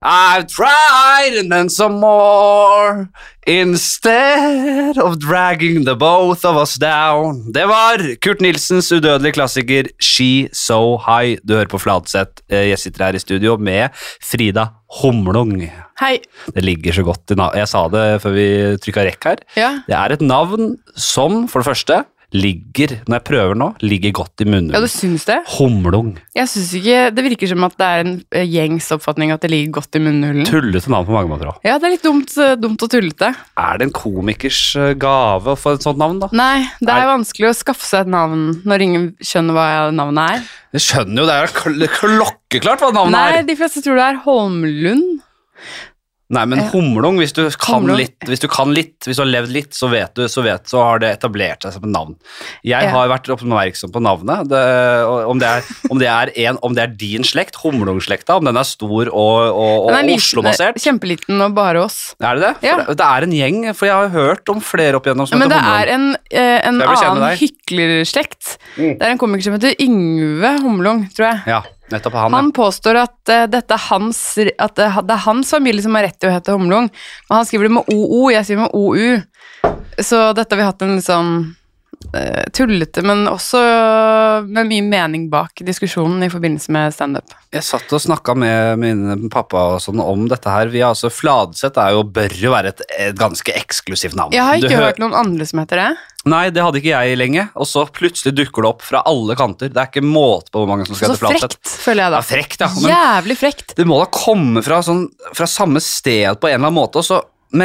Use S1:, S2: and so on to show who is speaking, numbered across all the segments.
S1: I've tried and then some more Instead of dragging the both of us down Det var Kurt Nilsens udødelige klassiker She So High Du hører på Fladseth Eh, Jeg sitter her i studio med Frida Humlung Det
S2: Hei.
S1: ligger så godt i navn Jeg sa det før vi trykket rekk her
S2: Ja.
S1: Det er et navn som, for det første Ligger, når jeg prøver nå Ligger godt i munnen
S2: ja, du Mm. syns det?
S1: Humlung
S2: Jeg syns ikke Det virker som at det er en eh, gjengs oppfatning at det ligger godt i munnhulen.
S1: Tullete navn på mange måter også
S2: Ja, det er litt dumt, eh, dumt og tullete.
S1: Er det en komikers eh, gave å få et sånt navn, da?
S2: Nei, det
S1: Er-
S2: er vanskelig å skaffe seg et navn når ingen skjønner hva navnet er.
S1: Jeg skjønner jo, det er jo kl klokkeklart hva navnet
S2: Nei,
S1: er.
S2: de fleste tror det er Holmlund.
S1: Nei, men
S2: Ja.
S1: Humlung, hvis du, kan
S2: Eh, Humlung.
S1: litt, hvis du kan litt, hvis du har levd litt, så vet du, så, vet, så har det etablert seg som et navn. Jeg
S2: Ja.
S1: har vært oppmerksom på navnet. Det, og om, det er, om, det er en, om det er din slekt, Humlung-slekta, om den er stor og, og,
S2: Den
S1: og
S2: er liten- eh,
S1: Oslo-basert.
S2: Kjempeliten og bare oss.
S1: Er det det? For
S2: Ja.
S1: det? Det er en gjeng, for jeg har hørt om flere opp igjennom som
S2: Men det
S1: heter
S2: er
S1: Humlung.
S2: en, eh, en
S1: Jeg vil kjenne
S2: annen
S1: deg.
S2: hyklerslekt.
S1: Mm.
S2: Det er en komiker som heter Yngve Humlung, tror jeg.
S1: Ja, nettopp han.
S2: Han
S1: han
S2: påstår at, eh, dette er hans, at det, det er hans familie som har rett til å hete Humlung. Men han skriver det med OO, jeg skriver med OU. Så dette har vi hatt en litt sånn eh, tullete, men også med mye mening bak diskusjonen i forbindelse med standup.
S1: Jeg satt og snakka med min pappa og sånn om dette her. Vi har altså, Fladseth er jo, bør jo være et, et ganske eksklusivt navn.
S2: Jeg har
S1: Du
S2: ikke
S1: hø-
S2: hørt noen andre som heter det.
S1: Nei, det hadde ikke jeg lenge, og så plutselig dukker det opp fra alle kanter. Det er ikke måte på hvor mange som skal hete
S2: Så
S1: Fladseth.
S2: frekt, føler jeg
S1: Det
S2: da.
S1: er frekt, ja. Men
S2: Jævlig frekt.
S1: det må da komme fra, sånn, fra samme sted på en eller annen måte, og så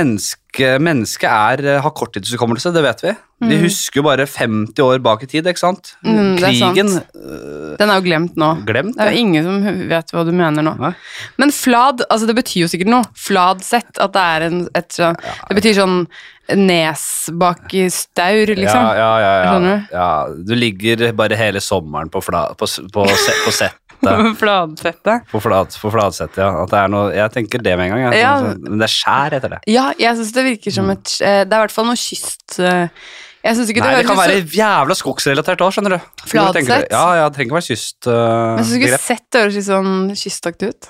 S1: mennesket menneske er- eh, har korttidshukommelse, det vet vi. Vi husker jo bare 50 år bak i tid, ikke sant?
S2: Mm, det er
S1: Krigen,
S2: sant. Den er jo glemt nå.
S1: glemt
S2: Det er
S1: det.
S2: jo ingen som vet hva du mener nå.
S1: Nei.
S2: Men flad, altså det betyr jo sikkert noe. Fladsett, at det er en et sånn Det betyr sånn nes bak i staur, liksom.
S1: Ja, ja, ja, ja,
S2: Skjønner
S1: ja. Du ligger bare hele sommeren på, fla, på, s- på, se- på settet.
S2: Fladsette.
S1: På, flat, på Fladseth, ja. At det er noe, jeg tenker det med en gang. Jeg,
S2: Ja.
S1: Sånn- men det er skjær etter det.
S2: Ja, jeg syns det virker som et eh, Det er i hvert fall noe kyst eh, Jeg syns ikke
S1: Mm. Nei,
S2: det
S1: det kan
S2: høres
S1: være
S2: ut
S1: jævla skogsrelatert òg, skjønner du. Når du tenker
S2: Fladseth?
S1: det- Ja, ja, det trenger ikke være eh,
S2: som Jeg syns
S1: kystbegrep.
S2: ikke sett høres litt sånn kystaktig ut.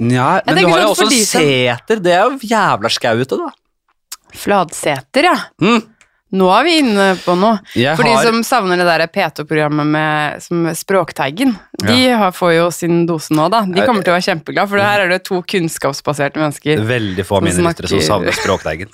S1: Nja, men du
S2: tenker
S1: har jo
S2: sånn for
S1: også
S2: de som-
S1: seter. Det er jo jævla skau ute, da.
S2: Fladseter, ja.
S1: Mm.
S2: Nå er vi inne på noe.
S1: Jeg
S2: For de
S1: har,
S2: som savner det der P2-programmet med som Språkteigen, de har, får jo sin dose nå, da. De kommer til å være kjempeglade, for her er det to kunnskapsbaserte mennesker.
S1: Veldig få av mine
S2: som
S1: lyttere som
S2: snakker-
S1: savner Språkteigen.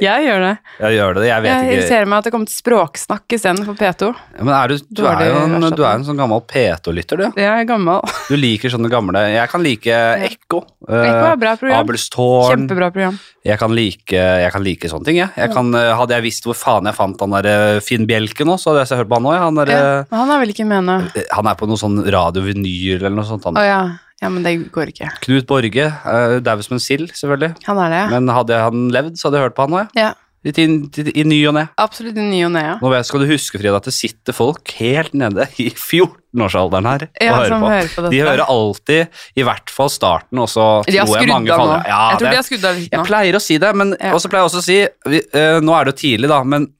S2: Jeg gjør det.
S1: Jeg gjør det, jeg vet
S2: Jeg
S1: ikke.
S2: irriterer meg at det kommer til Språksnakk istedenfor P2.
S1: Men er du, du, er
S2: Dårlig
S1: jo en,
S2: erstatning.
S1: du er en sånn gammel P2-lytter, du.
S2: Jeg er gammel.
S1: Du liker sånne gamle Jeg kan like Ekko.
S2: Ekko er et bra
S1: eh,
S2: program.
S1: Abelstårn.
S2: Kjempebra program.
S1: Jeg kan like, jeg kan like sånne ting, jeg. jeg kan, eh, hadde jeg visst hvor faen jeg fant han der eh, Finn Bjelke nå, så hadde jeg hørt på han òg. Han, er,
S2: Ja, men han er vel ikke med nå?
S1: eh, han er på noe sånn radiovinyl eller noe sånt. Han.
S2: Å ja. ja, men det går ikke.
S1: Knut Borge, uh, dau som en sild, selvfølgelig.
S2: Han er det, ja.
S1: Men hadde han levd, så hadde jeg hørt på han òg.
S2: ja.
S1: I, tin- ti- I ny og ne.
S2: Absolutt i ny og ne, ja.
S1: Nå vet- skal du huske, Frida, at det sitter folk helt nede i 14-årsalderen her
S2: Ja,
S1: og hører
S2: som
S1: på.
S2: hører på dette.
S1: De hører alltid, i hvert fall starten, og så
S2: De har
S1: tror jeg
S2: skrudd av
S1: mange
S2: nå.
S1: faller. Ja,
S2: jeg tror
S1: det-
S2: de har skrudd av litt
S1: Jeg
S2: nå.
S1: pleier å si det, men
S2: Ja.
S1: og så pleier jeg også å si vi, eh, Nå er det jo tidlig, da, men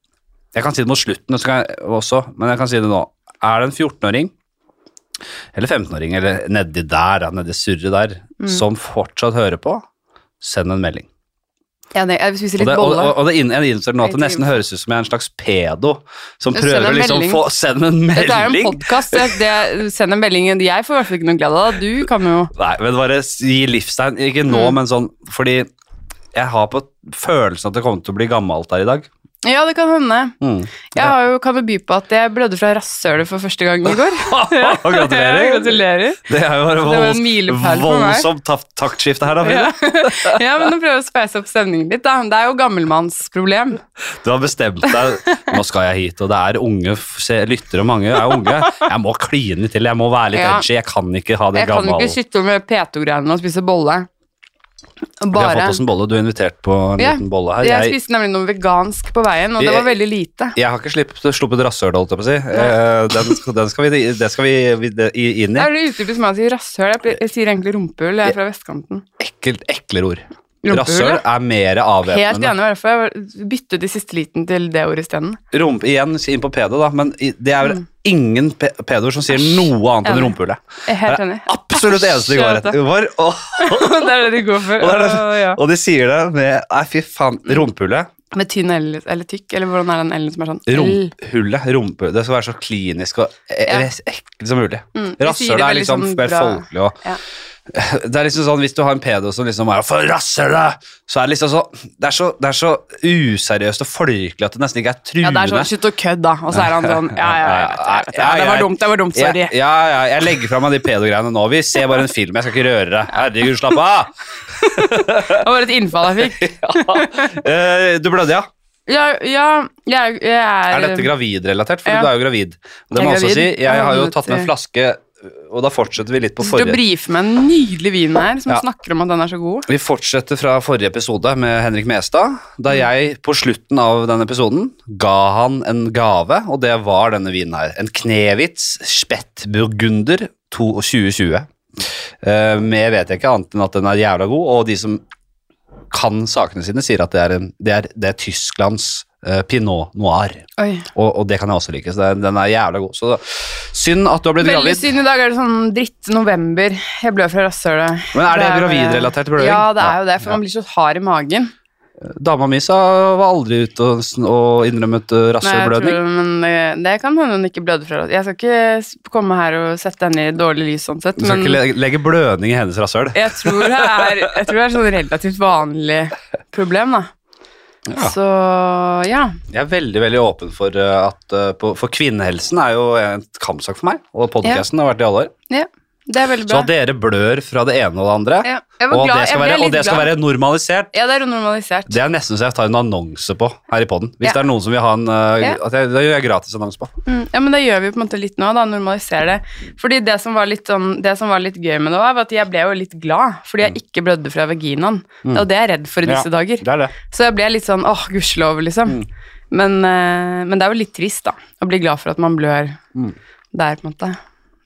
S1: jeg kan si det mot slutten og så kan jeg, også, men jeg kan si det nå. Er det en 14-åring, eller 15-åring, eller nedi der, da, nedi surret der,
S2: Mm.
S1: som fortsatt hører på, send en melding.
S2: Ja, det, jeg spiser
S1: Og
S2: litt
S1: det, og,
S2: bolle.
S1: og, og det inn, jeg innser nå at det
S2: Litt
S1: nesten
S2: info.
S1: høres ut som jeg er en slags pedo som
S2: Send en
S1: prøver å liksom
S2: melding.
S1: få Send en
S2: Dette er jo en
S1: melding!
S2: podkast. Send en melding. Jeg får i hvert fall ikke noe glede av det. Du kan jo
S1: Nei, men bare gi livstegn. Ikke nå,
S2: Mm.
S1: men sånn fordi jeg har på følelsen at det kommer til å bli gammelt her i dag.
S2: Ja, det kan hende.
S1: Mm.
S2: Jeg har jo, kan jo by på at jeg blødde fra rasshølet for første gang i går. Ja,
S1: Gratulerer.
S2: Gratulerer.
S1: Det er jo bare
S2: var en
S1: volds-
S2: milepæl for meg.
S1: voldsomt taf- taktskifte her, da. Frida.
S2: Ja. ja, men nå prøver jeg å speise opp stemningen litt. Da. Det er jo gammelmannsproblem.
S1: Du har bestemt deg. Nå skal jeg hit, og det er unge f- se, lyttere, mange er unge. Jeg må kline til, jeg må være litt
S2: Ja.
S1: edgy. Jeg kan ikke ha det
S2: Jeg kan jo
S1: gamle.
S2: ikke skytte over med P2-greiene og spise bolle.
S1: Vi har fått
S2: Bare.
S1: oss en bolle. Du er invitert på en
S2: Ja,
S1: liten bolle her.
S2: Jeg
S1: Jeg,
S2: spiste nemlig noe vegansk på veien, og det var veldig lite.
S1: jeg har ikke slipp- sluppet rasshølet, holdt jeg på å si. Eh, Den, skal- den skal vi, det skal vi, vi det, i- inn
S2: Det
S1: i.
S2: er det utdypet som jeg sier rasshøl. Jeg, pleier- jeg sier egentlig rumpehull. Jeg er fra vestkanten.
S1: Ekkelt, ekler ord. Rasshøl er mer
S2: Helt
S1: avvæpnende.
S2: enig, i hvert fall. Jeg byttet i siste liten til det ordet isteden.
S1: Rump, igjen inn på pedo, da, men i- det er vel
S2: Mm.
S1: ingen pe pedoer som sier noe annet enn
S2: Enig.
S1: rumpehullet.
S2: Jeg er Helt enig.
S1: Absolutt det eneste de går
S2: Skjøt det.
S1: etter. Hvor- Og,
S2: det er det de går for.
S1: og, det er
S2: Å, ja. Mm.
S1: det- og de sier det med Nei, fy faen. Rumpehullet.
S2: Med tynn L, eller tykk, eller hvordan er den L-en som er sånn? L.
S1: Rumpehullet. Rumpe, det skal være så klinisk og e-
S2: Ja.
S1: res- ekkelt som mulig.
S2: Mm, de sier
S1: Rasshøl
S2: det
S1: er
S2: veldig
S1: liksom
S2: sånn
S1: mer
S2: bra.
S1: folkelig og
S2: Ja.
S1: Det er liksom sånn hvis du har en pedo som liksom er For rasshølet! Så er det liksom så Det er så, det er så useriøst og folkelig at det nesten ikke er
S2: Ja,
S1: truende.
S2: det er sånn slutt å kødde, da. Og så er han sånn ja, ja, ja, ja, ja, ja, det var dumt, det var dumt, sorry.
S1: Ja, ja, ja, jeg legger fra meg de pedogreiene nå. Vi ser bare en film, jeg skal ikke røre deg. Herregud, slapp av!
S2: Det var et innfall jeg fikk.
S1: Eh, du blødde, ja.
S2: Ja, ja jeg, jeg er
S1: Er dette gravidrelatert? For
S2: Eh, Ja.
S1: du er jo gravid. Og det
S2: Jeg
S1: må
S2: er
S1: jeg også
S2: gravid.
S1: si. Jeg har jo
S2: Helvete.
S1: tatt med en flaske, og da fortsetter vi litt på
S2: Sitter og
S1: forrige
S2: brifer med en nydelig vin her, som
S1: Ja.
S2: snakker om at den er så god.
S1: vi fortsetter fra forrige episode med Henrik Mestad, da
S2: Mm.
S1: jeg på slutten av den episoden ga han en gave, og det var denne vinen her. En Knevitz Spett Burgunder 2020. Eh, Med vet jeg ikke annet enn at den er jævla god, og de som kan sakene sine, sier at det er, en, det er, det er Tysklands eh, Pinot Noir.
S2: Oi.
S1: Og, og det kan jeg også like, så det, den er jævla god. Så synd at du har blitt
S2: Veldig
S1: gravid.
S2: synd i dag er det sånn dritt november. Jeg blør fra rasshølet.
S1: Men er det
S2: jo-
S1: gravidrelatert bløding?
S2: Ja, det
S1: Ja.
S2: er jo det, for man blir så hard i magen.
S1: Dama mi sa var aldri ute og, sn- og innrømmet eh,
S2: Nei, jeg
S1: rasshølblødning.
S2: tror- Men eh, det kan hende hun ikke blødde fra Jeg skal ikke s- komme her og sette henne i dårlig lys sånn sett,
S1: Du skal ikke
S2: men
S1: legge, legge blødning i hennes rasshøl.
S2: jeg tror det er, jeg tror det er sånn relativt vanlig problem, da.
S1: Ja.
S2: Så ja.
S1: Jeg er veldig veldig åpen for eh, at eh, på, For kvinnehelsen er jo en kampsak for meg, og podcasten har vært det i alle år.
S2: ja. Det er veldig
S1: Så
S2: bra.
S1: at dere blør fra det ene og det andre,
S2: ja. Jeg var
S1: og,
S2: glad.
S1: det
S2: Jeg
S1: skal
S2: ble
S1: være,
S2: litt
S1: og det skal
S2: glad.
S1: være normalisert,
S2: Ja, det er jo normalisert.
S1: det er nesten så jeg tar en annonse på her i poden. Hvis
S2: Ja.
S1: det er noen som vil ha en eh,
S2: Ja.
S1: at jeg, Da gjør jeg gratis annonse på.
S2: Mm, ja, men det gjør vi på en måte litt nå, da, normaliserer det. Fordi det som var litt, sånn, det som var litt gøy med det, var at jeg ble jo litt glad, fordi jeg ikke blødde fra vaginaen. Det er jo det jeg er redd for i disse
S1: Mm. Ja,
S2: dager.
S1: Det er det.
S2: Så jeg ble litt sånn åh, gudskjelov, liksom.
S1: Mm.
S2: Men, eh, men det er jo litt trist, da, å bli glad for at man blør
S1: Mm.
S2: der, på en måte.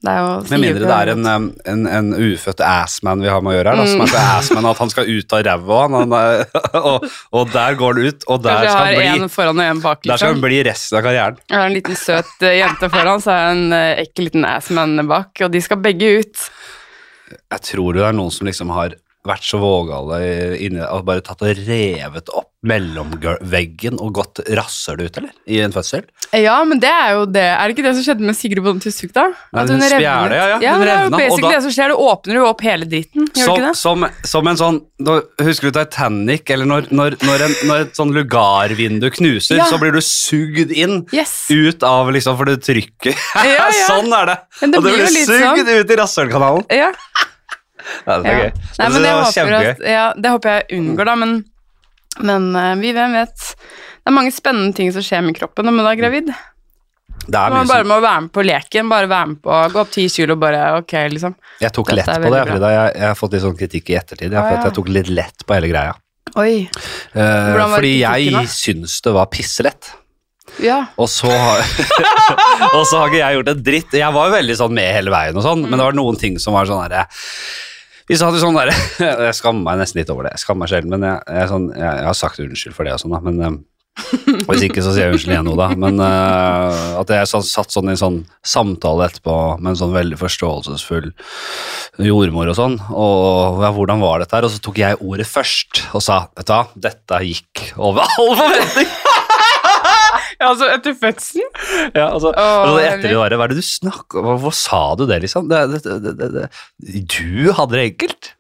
S2: Det er jo
S1: Med mindre det er en, um, en, en ufødt assman vi har med å gjøre her, da, som er så
S2: Mm.
S1: assman at han skal ut av ræva, han- han er- og, og der går han ut, og der
S2: Kanskje jeg
S1: skal
S2: har
S1: han bli,
S2: en foran og en bak,
S1: der skal
S2: liksom.
S1: han bli resten av karrieren.
S2: Jeg har en liten søt eh, jente foran, så har jeg en eh, ekkel liten assman bak, og de skal begge ut.
S1: Jeg tror det er noen som liksom har vært så vågale inni og bare tatt og revet opp mellomveggen og gått rasshøl ut, eller? I en fødsel.
S2: Eh, Ja, men det er jo det. Er det ikke det som skjedde med Sigrid Bonde Tusvik, da?
S1: Nei, hun spjæle, ja, ja, hun
S2: det er jo
S1: revna, og
S2: basically
S1: da-
S2: det som skjer. Du åpner jo opp hele dritten, gjør du ikke
S1: Som,
S2: det?
S1: som, som en sånn da, Husker du Titanic, eller når, når, når, en, når et sånn lugarvindu knuser,
S2: Ja.
S1: så blir du sugd inn.
S2: Yes.
S1: Ut av liksom, for det trykker.
S2: Ja, ja.
S1: sånn er det.
S2: Men det
S1: og det
S2: blir jo
S1: blir
S2: litt
S1: sugd ut i rasshølkanalen.
S2: Ja.
S1: Ja, det er
S2: ja.
S1: gøy.
S2: Nei,
S1: det
S2: men jeg
S1: var
S2: håper
S1: kjempegøy.
S2: at, ja, det håper jeg unngår, da, men, men eh, vi, hvem vet. Det er mange spennende ting som skjer med kroppen når man er gravid.
S1: Det er mye
S2: Man bare
S1: som,
S2: må være med på leken, bare være med på gå opp ti kilo og bare ok, liksom.
S1: jeg tok
S2: Dette
S1: lett på
S2: er
S1: det,
S2: veldig bra.
S1: Frida. Jeg, jeg har fått litt sånn kritikk i ettertid. Jeg,
S2: Å,
S1: for at
S2: ja.
S1: jeg tok litt lett på hele greia.
S2: Oi.
S1: Eh,
S2: var
S1: fordi
S2: kritikken, da?
S1: jeg syns det var pisselett.
S2: Ja.
S1: Og så, har, og så har ikke jeg gjort en dritt. Jeg var jo veldig sånn med hele veien, og sånn, men det var noen ting som var sånn herre vi sa det sånn der, Jeg skammer meg nesten litt over det. Jeg skammer meg sjelden, men jeg, jeg, er sånn, jeg, jeg har sagt unnskyld for det og sånn, da. Men eh, hvis ikke, så sier jeg unnskyld igjen, Oda. Men eh, at jeg sånn, satt sånn i en sånn samtale etterpå med en sånn veldig forståelsesfull jordmor og sånn, og ja, hvordan var dette her? Og så tok jeg ordet først og sa, vet du hva, dette gikk over all forventning.
S2: Altså, etter fødselen?
S1: Ja, altså,
S2: Åh,
S1: altså etter
S2: Henrik.
S1: det var det, hva er det du snakker om? Hvor- Hvor sa du det, liksom? Det, det, det, det, det. Du hadde det enkelt?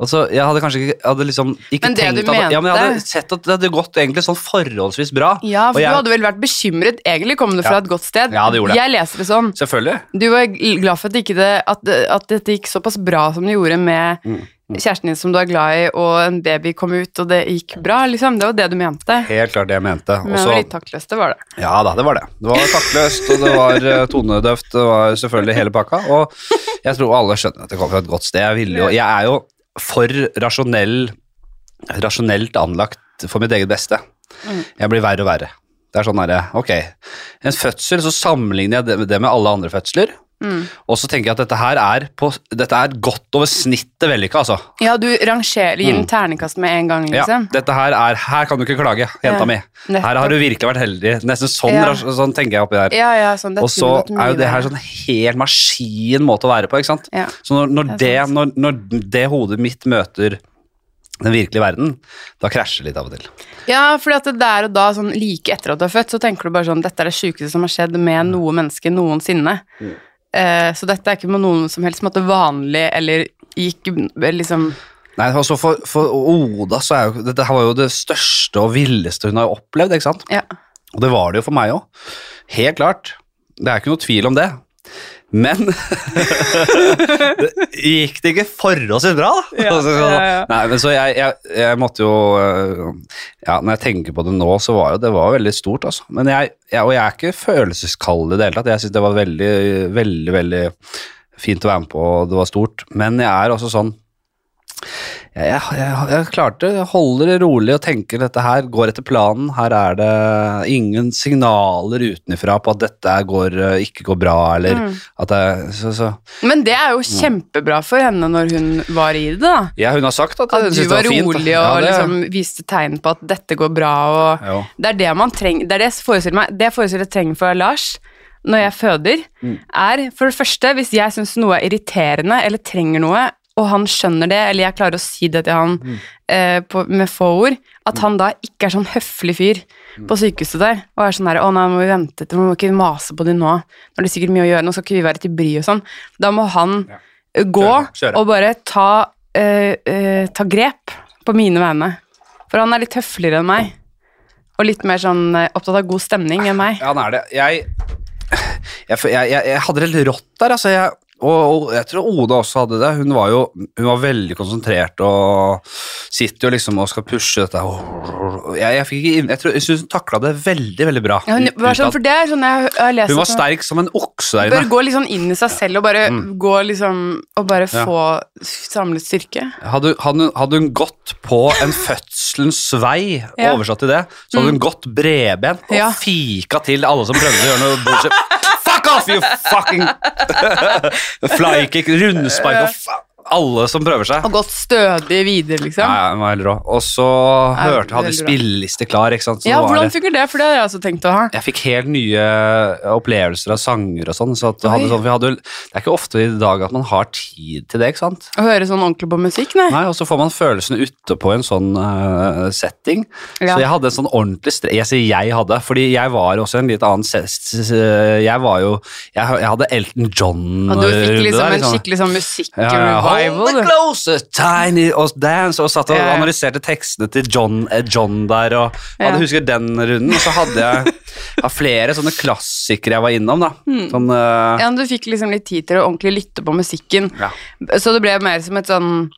S1: Altså, jeg hadde kanskje ikke, jeg hadde liksom ikke
S2: Men det
S1: tenkt
S2: du
S1: at, ja, men Jeg
S2: mente-
S1: hadde sett at det hadde gått egentlig sånn forholdsvis bra.
S2: Ja,
S1: Og
S2: for
S1: jeg-
S2: du hadde vel vært bekymret. Egentlig kom det fra
S1: Ja.
S2: et godt sted.
S1: Ja, det gjorde det.
S2: Jeg leser det sånn.
S1: Selvfølgelig.
S2: Du var gl- glad for at, ikke det, at, det- at dette gikk såpass bra som det gjorde med
S1: Mm,
S2: kjæresten din som du er glad i, og en baby kom ut, og det gikk bra, liksom. Det var det du mente.
S1: Helt klart det jeg mente. Og
S2: Men det
S1: så-
S2: var litt taktløst, det var det.
S1: Ja da, det var det. Det var taktløst, og det var eh, tonedøvt, det var selvfølgelig hele pakka. Og jeg tror alle skjønner at det kom fra et godt sted. Jeg, ville jo, jeg er jo for rasjonell, rasjonelt anlagt for mitt eget beste.
S2: Mm.
S1: Jeg blir verre og verre. Det er sånn derre, ok. En fødsel, så sammenligner jeg det- det med alle andre fødsler.
S2: Mm.
S1: Og så tenker jeg at dette her er, på, dette er godt over snittet vellykka, altså.
S2: Ja, du rangerer, gir den ternekast med en gang,
S1: Mm. Ja,
S2: liksom.
S1: dette her er Her kan du ikke klage, jenta
S2: Ja,
S1: mi. Her har du virkelig vært heldig. Nesten sånn,
S2: Ja.
S1: ras- sånn tenker jeg oppi der.
S2: Ja, ja, sånn, det
S1: Og så
S2: kunne gått mye
S1: er jo det her
S2: verre.
S1: sånn helt maskin måte å være på, ikke sant.
S2: Ja.
S1: Så når, når, det,
S2: Det er
S1: når,
S2: sant.
S1: når det hodet mitt møter den virkelige verden, da krasjer det litt av og til.
S2: Ja, fordi at det der og da, sånn like etter at du er født, så tenker du bare sånn Dette er det sjukeste som har skjedd
S1: Mm.
S2: med noe menneske noensinne. Eh, så dette er ikke på noen som helst måte vanlig eller gikk liksom
S1: Nei, altså for, for Oda så er jo Dette her var jo det største og villeste hun har opplevd, ikke sant?
S2: Ja.
S1: Og det var det jo for meg òg. Helt klart. Det er ikke noe tvil om det. Men det gikk det ikke forholdsvis bra, da?
S2: Ja,
S1: Altså,
S2: ja, ja.
S1: Nei, men så jeg, jeg, jeg måtte jo øh, Ja, når jeg tenker på det nå, så var jo det var veldig stort, altså. Men jeg, jeg, og jeg er ikke følelseskald i det hele tatt. Jeg syns det var veldig, veldig, veldig fint å være med på, og det var stort. Men jeg er også sånn jeg, jeg, jeg, jeg klarte å holde det rolig og tenke dette her går etter planen. Her er det ingen signaler utenfra på at dette her går, eh, ikke går bra, eller
S2: Mm.
S1: at det så, så.
S2: Men det er jo
S1: Mm.
S2: kjempebra for henne når hun var i det, da.
S1: Ja, hun har sagt at,
S2: At
S1: hun
S2: du
S1: synes det
S2: var
S1: var fint. da.
S2: rolig og
S1: Ja, det-
S2: liksom viste tegn på at dette går bra og
S1: Jo.
S2: Det er det man trenger Det er det jeg forestiller meg Det jeg forestiller jeg trenger for Lars når jeg føder,
S1: Mm.
S2: er for det første hvis jeg syns noe er irriterende eller trenger noe, og han skjønner det, eller jeg klarer å si det til han
S1: Mm.
S2: eh, på, med få ord, at han da ikke er sånn høflig fyr
S1: Mm.
S2: på sykehuset der og er sånn her 'Å nei, må vi vente til, må ikke mase på de nå. Nå er det sikkert mye å gjøre, nå skal ikke vi være til bry og sånn.' Da må han eh,
S1: Kjøre,
S2: gå
S1: kjøre.
S2: og bare ta, eh, eh, ta grep på mine vegne. For han er litt høfligere enn meg. Og litt mer sånn eh, opptatt av god stemning enn meg.
S1: Ja, han er det. Jeg, jeg, jeg, jeg, jeg hadde det litt rått der, altså. Jeg, og, og jeg tror Oda også hadde det. Hun var jo hun var veldig konsentrert og sitter jo liksom og skal pushe dette. Jeg, jeg, fikk ikke inn- jeg, tror- jeg syns hun takla det veldig, veldig bra.
S2: Ja, hun,
S1: Ut-
S2: var sånn,
S1: utad.
S2: for det er sånn jeg har- har lest
S1: hun var
S2: at hun
S1: sterk som en okse der
S2: bør
S1: inne.
S2: gå litt sånn inn i seg selv og bare gå liksom Og bare
S1: Mm. Ja.
S2: få samlet styrke.
S1: Hadde, hadde, hun- hadde hun gått på en fødselens vei,
S2: Ja. Mm.
S1: oversatt til det, så hadde hun gått bredbent og
S2: Ja.
S1: fika til alle som prøvde å gjøre noe bullshit. Fuck off, you fucking Flykick, rundspark og fa alle som prøver seg.
S2: Og gått stødig videre, liksom.
S1: Ja, ja, den var helt rå. Og så
S2: Ja,
S1: hørte hadde
S2: veldig bra.
S1: spilleliste klar, ikke sant. Så
S2: Ja,
S1: var
S2: hvordan
S1: det-
S2: funker det? For det har jeg også tenkt å ha.
S1: jeg fikk helt nye eh, opplevelser av sanger og sånn. så at jeg hadde
S2: Oi.
S1: sånn, vi hadde, jo- Det er ikke ofte i dag at man har tid til det, ikke sant?
S2: Å høre sånn ordentlig på musikk, nei.
S1: Nei, og så får man følelsen utepå en sånn eh, setting.
S2: Ja.
S1: Så jeg hadde en sånn ordentlig stre... Jeg sier jeg hadde, fordi jeg var også en litt annen sest. Jeg var jo Jeg, jeg hadde Elton John
S2: Og du fikk
S1: runde
S2: liksom
S1: der,
S2: en skikkelig sånn
S1: ja, ja. Hold
S2: musikk-revival.
S1: me
S2: du.
S1: closer, tiny og dance Og satt og
S2: Ja, ja.
S1: analyserte tekstene til John, eh, John der og
S2: Ja.
S1: hadde, Husker den runden, så hadde jeg ja, flere sånne klassikere jeg var innom da
S2: Hmm.
S1: Sånn, eh,
S2: Ja, men du fikk liksom litt tid til å ordentlig lytte på musikken.
S1: ja.
S2: Så det ble mer som et sånn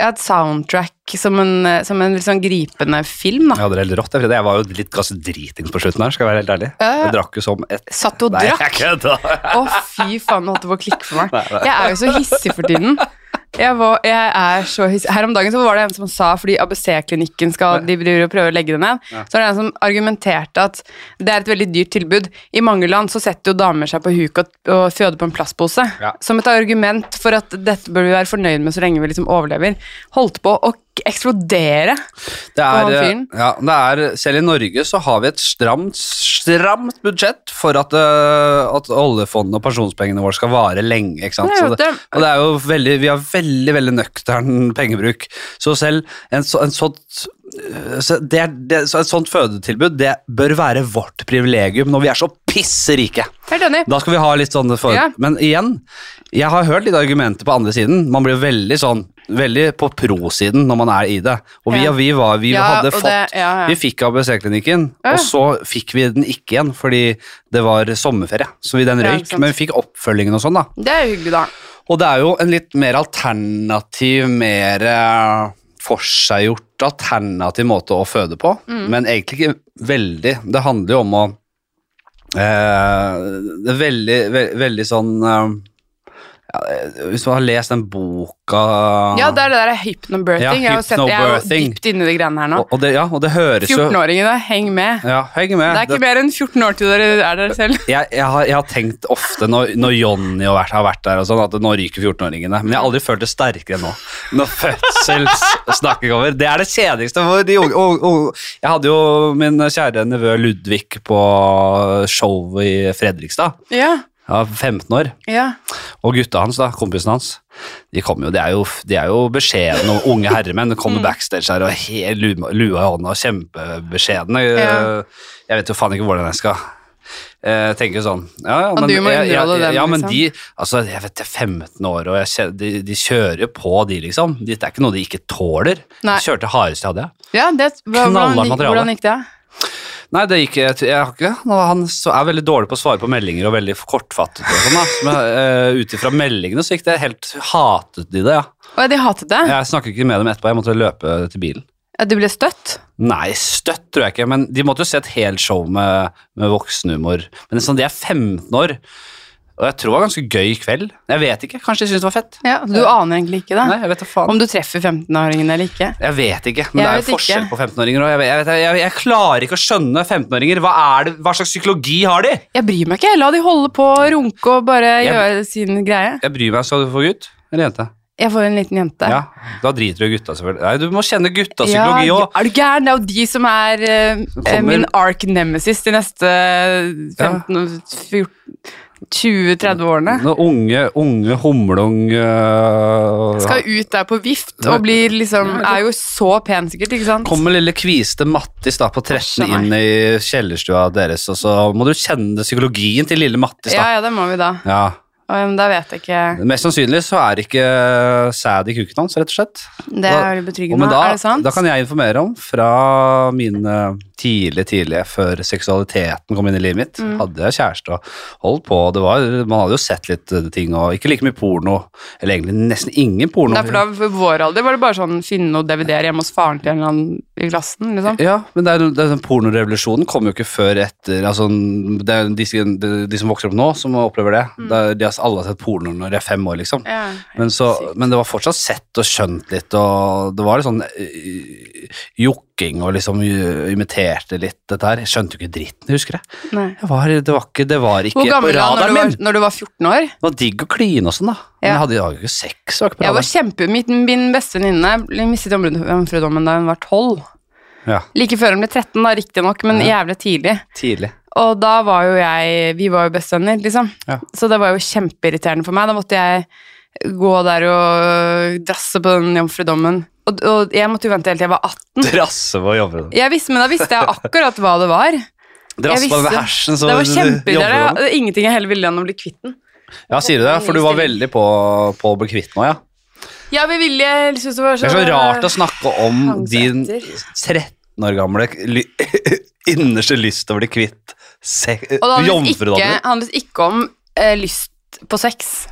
S2: ja, et soundtrack, som en, eh, som en litt sånn gripende film,
S1: Jeg
S2: da.
S1: hadde det helt rått, jeg, Frida. jeg var jo litt ganske dritings på slutten her, skal jeg være helt ærlig
S2: Ja, ja.
S1: Jeg drakk jo som et
S2: Satt og
S1: Nei,
S2: drakk.
S1: jeg kødder.
S2: Å, fy faen, det holdt på å klikke for meg. Jeg er jo så hissig for tiden. Jeg, var, jeg er så hissig. Her om dagen så var det en som sa, fordi ABC-klinikken skal, de driver og prøver å legge det ned, så er det en som argumenterte at det er et veldig dyrt tilbud. I mange land så setter jo damer seg på huk og, og føder på en plastpose.
S1: Ja.
S2: Som et argument for at dette bør vi være fornøyd med så lenge vi liksom overlever. Holdt på å k- eksplodere.
S1: Det
S2: han
S1: er, eh,
S2: fyren.
S1: ja, det er, selv i Norge så har vi et stramt, stramt budsjett for at, øh, at oljefondet og pensjonspengene våre skal vare lenge. Ikke sant?
S2: Det er jo
S1: Så
S2: det.
S1: og det er jo veldig, vi har veldig veldig nøktern pengebruk. Så selv en, så, en sånt øh, så det, er- det, så et sånt fødetilbud det bør være vårt privilegium når vi er så pisserike.
S2: Helt enig.
S1: Da skal vi ha litt sånne for...
S2: Ja.
S1: Men igjen, jeg har hørt litt argumenter på andre siden. Man blir veldig sånn Veldig på pro-siden når man er i det. Og vi,
S2: Ja.
S1: og vi var Vi
S2: Ja,
S1: hadde
S2: og
S1: fått
S2: det- ja, ja.
S1: Vi fikk ABC-klinikken,
S2: Ja.
S1: og så fikk vi den ikke igjen fordi det var sommerferie. Så vi den
S2: Ja,
S1: røyk.
S2: ikke sant.
S1: men vi fikk oppfølgingen og sånn, da.
S2: Det er jo hyggelig, da.
S1: Og det er jo en litt mer alternativ, mer eh, forseggjort alternativ måte å føde på.
S2: Mm.
S1: Men egentlig ikke veldig. Det handler jo om å eh, Det er veldig, ve veldig sånn eh, Hvis man har lest den boka
S2: Ja, det er det der
S1: Ah.
S2: hypnobirthing.
S1: Ja,
S2: jeg, har jo sett, jeg er jo
S1: hypnobirthing.
S2: dypt inni de greiene her nå.
S1: og, og det, ja, og det høres jo
S2: 14-åringene, heng med.
S1: Ja, heng med.
S2: Det er ikke mer enn 14 år til dere er der selv.
S1: jeg, jeg, har, jeg har tenkt ofte når, når Jonny har vært, har vært der, og sånn, at nå ryker 14-åringene. Men jeg har aldri følt det sterkere enn nå. Når fødselssnakking over. Det er det kjedeligste. For de unge, og, og, jeg hadde jo min kjære nevø Ludvig på showet i Fredrikstad.
S2: Ja,
S1: Han var 15 år.
S2: ja.
S1: Og gutta hans, da, kompisen hans, de kom jo, de er jo, de er jo beskjedne og unge herremenn. De
S2: Mm.
S1: kommer backstage her og helt lua lua i hånda, kjempebeskjedne.
S2: Ja.
S1: Jeg vet jo faen ikke hvordan jeg skal eh, tenke sånn. Ja, ja,
S2: Ja, du må
S1: jeg- jeg-
S2: underholde dem,
S1: Ja, men
S2: liksom.
S1: de, altså, jeg vet, det er 15 år, og jeg, kjen- de, de kjører jo på, de, liksom. De- Det er ikke noe de ikke tåler.
S2: Nei.
S1: De kjørte hardest jeg hadde, jeg.
S2: ja det, hva,
S1: Knallhardt
S2: hvordan, gikk-
S1: materiale.
S2: hvordan gikk det?
S1: Nei, det gikk jeg, jeg har ikke det. Han så- er veldig dårlig på å svare på meldinger og veldig kortfattet. Og sånn, da. Men uh, ut ifra meldingene så gikk det helt Hatet de det, ja.
S2: Å, de hatet det?
S1: Jeg snakket ikke med dem etterpå, jeg måtte løpe til bilen.
S2: Ja, du ble støtt?
S1: Nei, støtt tror jeg ikke, men de måtte jo se et helt show med, med voksenhumor. Men sånn, de er 15 år, og jeg tror det var ganske gøy kveld. Jeg vet ikke, kanskje de syntes det var fett.
S2: Ja, Du aner egentlig ikke
S1: Nei,
S2: det?
S1: jeg vet da faen.
S2: Om du treffer 15-åringene eller ikke?
S1: Jeg vet ikke, men
S2: Jeg
S1: det er
S2: vet
S1: jo forskjell
S2: ikke.
S1: på 15-åringer. og Jeg, vet- jeg, vet- jeg, jeg klarer ikke å skjønne 15-åringer. Hva, er det- hva slags psykologi har de?
S2: Jeg bryr meg ikke. La de holde på å runke og bare
S1: Jeg-
S2: gjøre sin greie.
S1: Jeg bryr meg, skal du få gutt eller jente?
S2: Jeg får en liten jente.
S1: Ja, da driter du i gutta selvfølgelig. Nei, du må kjenne gutta psykologi
S2: Ja,
S1: også.
S2: Er du gæren? Det er jo de som er eh,
S1: kommer-
S2: min ark nemesis de neste 15-20-30 årene.
S1: Noen unge, unge humlung... øh,
S2: Skal ut der på vift
S1: Ja.
S2: og blir liksom Er jo så pen, sikkert, ikke sant?
S1: Kommer lille kviste Mattis da på 13
S2: Æsj, nei.
S1: inn i kjellerstua deres, og så må du kjenne psykologien til lille Mattis
S2: Ja,
S1: da.
S2: ja, det må vi da.
S1: Ja.
S2: Um, da vet jeg ikke
S1: Mest sannsynlig så er det ikke sæd i kuken hans, rett og slett.
S2: Det
S1: Da-
S2: er
S1: Og, men
S2: veldig betryggende.
S1: da,
S2: er det sant?
S1: da kan jeg informere om, fra mine tidlige, tidlige, før seksualiteten kom inn i livet mitt,
S2: Mm.
S1: hadde jeg kjæreste og holdt på, og det var, man hadde jo sett litt eh, ting, og ikke like mye porno, eller egentlig nesten ingen porno.
S2: Nei, for da, for vår alder var det bare sånn finne noen DVD-er hjemme hos faren til en eller annen i klassen, liksom.
S1: Ja, men det er, det er, den pornorevolusjonen kom jo ikke før etter altså, det er de, som- de, de som vokser opp nå, som opplever det. det er, de har alle har sett porno når de er fem år, liksom.
S2: Mm. Ja.
S1: Men, så, men det var fortsatt sett og skjønt litt, og det var litt sånn eh, jokking og liksom eh, imiterte litt dette her. Jeg skjønte jo ikke dritten, jeg husker det.
S2: Nei.
S1: Jeg var, det var ikke, det var ikke
S2: Hvor
S1: på
S2: gammel var du
S1: radaren
S2: når
S1: min.
S2: du var, når du var 14 år?
S1: Det var digg å kline og sånn, da. Men
S2: Ja.
S1: jeg hadde jeg hadde jo ikke sex. det Var ikke på
S2: Jeg var
S1: radaren.
S2: kjempe, min, min beste venninne ble- mistet jomfrudommen da hun var 12.
S1: Ja,
S2: Like før hun ble 13, da, riktignok, men jævlig tidlig.
S1: tidlig.
S2: Og da var jo jeg Vi var jo bestevenner, liksom.
S1: Ja.
S2: Så det var jo kjempeirriterende for meg. Da måtte jeg gå der og drasse på den jomfrudommen. Og, og jeg måtte jo vente helt til jeg var 18.
S1: Drasse på jobben.
S2: Jeg visste, men da visste jeg akkurat hva det var.
S1: Drasse på
S2: visste-
S1: den hersen. så
S2: Det var
S1: jobber
S2: kjempeirriterende.
S1: man.
S2: Det er Ingenting jeg heller ville enn å bli kvitt den.
S1: Ja, sier du det? For du var veldig på, på å bli kvitt nå, ja.
S2: Ja, vi ville jeg synes det var sånn, så
S1: Det er så rart altså. å snakke om
S2: Hang seg
S1: din
S2: etter.
S1: 13 år gamle ly innerste lyst til å bli kvitt se-
S2: Og det handlet ikke,
S1: jomfrudommen.
S2: handlet ikke om eh, lyst på sex.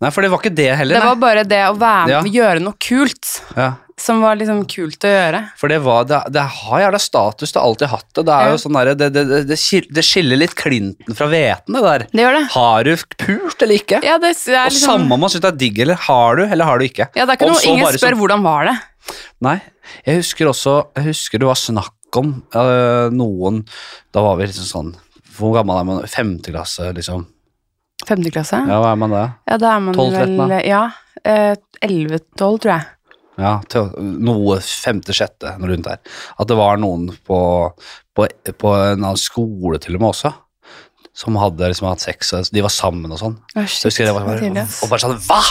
S1: Nei, for det var ikke det heller.
S2: Det var
S1: Nei.
S2: bare det å være med
S1: Ja.
S2: og gjøre noe kult,
S1: Ja,
S2: som var liksom kult å gjøre.
S1: for det, var, det, det har jævla status, det har alltid hatt det. Det, er
S2: Ja.
S1: jo sånn der, det, det, det- det, skil- det skiller litt Clinton fra hveten, det der.
S2: Det gjør det.
S1: Har du pult eller ikke?
S2: Ja, det er
S1: Og
S2: liksom...
S1: samme om man syns det er digg eller har du eller har du ikke.
S2: Ja, det er ikke
S1: Om
S2: noe,
S1: så
S2: ingen
S1: bare
S2: spør
S1: som-
S2: hvordan var det.
S1: Nei, jeg husker også Jeg husker det var snakk om øh, noen Da var vi liksom sånn Hvor gammel er man? Femte klasse, liksom.
S2: Femte klasse? Ja,
S1: Ja, hva er man da?
S2: da er man
S1: 12, 13
S2: vel
S1: da.
S2: Ja. eh, 11-12, tror jeg.
S1: Ja, til, noe femte-sjette, noe rundt der. At det var noen på, på, på en annen skole til og med også, som hadde liksom hatt sex, og de var sammen og sånn.
S2: Å,
S1: Så
S2: shit,
S1: husker jeg det var
S2: tidlig,
S1: bare,
S2: ass.
S1: og bare sånn, hva?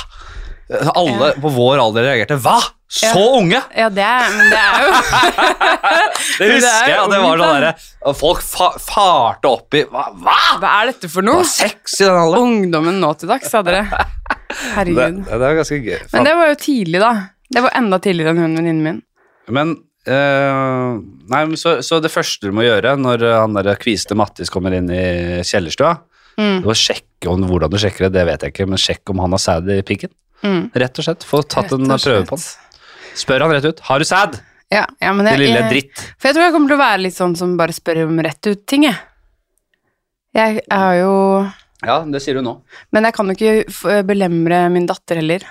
S1: Så Alle på vår alder reagerte, hva? Så unge?
S2: Ja, det er, men det er jo
S1: Det
S2: Men det
S1: husker
S2: er
S1: jeg, og det var
S2: ungt,
S1: sånn der, og folk fa farte opp i, hva? hva?
S2: Hva er dette for
S1: Det
S2: noe?
S1: var sex i den alderen.
S2: Ungdommen nå til dags, sa dere.
S1: Det,
S2: Herregud.
S1: det er ganske gøy.
S2: Men det var jo tidlig, da. Det var enda tidligere enn hun venninnen min.
S1: Men eh, Nei, men så, så det første du må gjøre når eh, han der kviste Mattis kommer inn i kjellerstua,
S2: Mm.
S1: det var å sjekke om hvordan du sjekker det, det vet jeg ikke, men sjekk om han har sæd i piggen.
S2: Mm.
S1: Rett og slett. Få tatt en
S2: Rett og
S1: prøve på den.
S2: slett.
S1: Spør han rett ut. Har du sæd?
S2: Ja, ja, men
S1: Det
S2: jeg,
S1: lille
S2: jeg,
S1: dritt.
S2: For jeg tror jeg kommer til å være litt sånn som bare spør om rett ut ting, jeg. Jeg er jo
S1: Ja, det sier du nå.
S2: Men jeg kan jo ikke f- belemre min datter heller.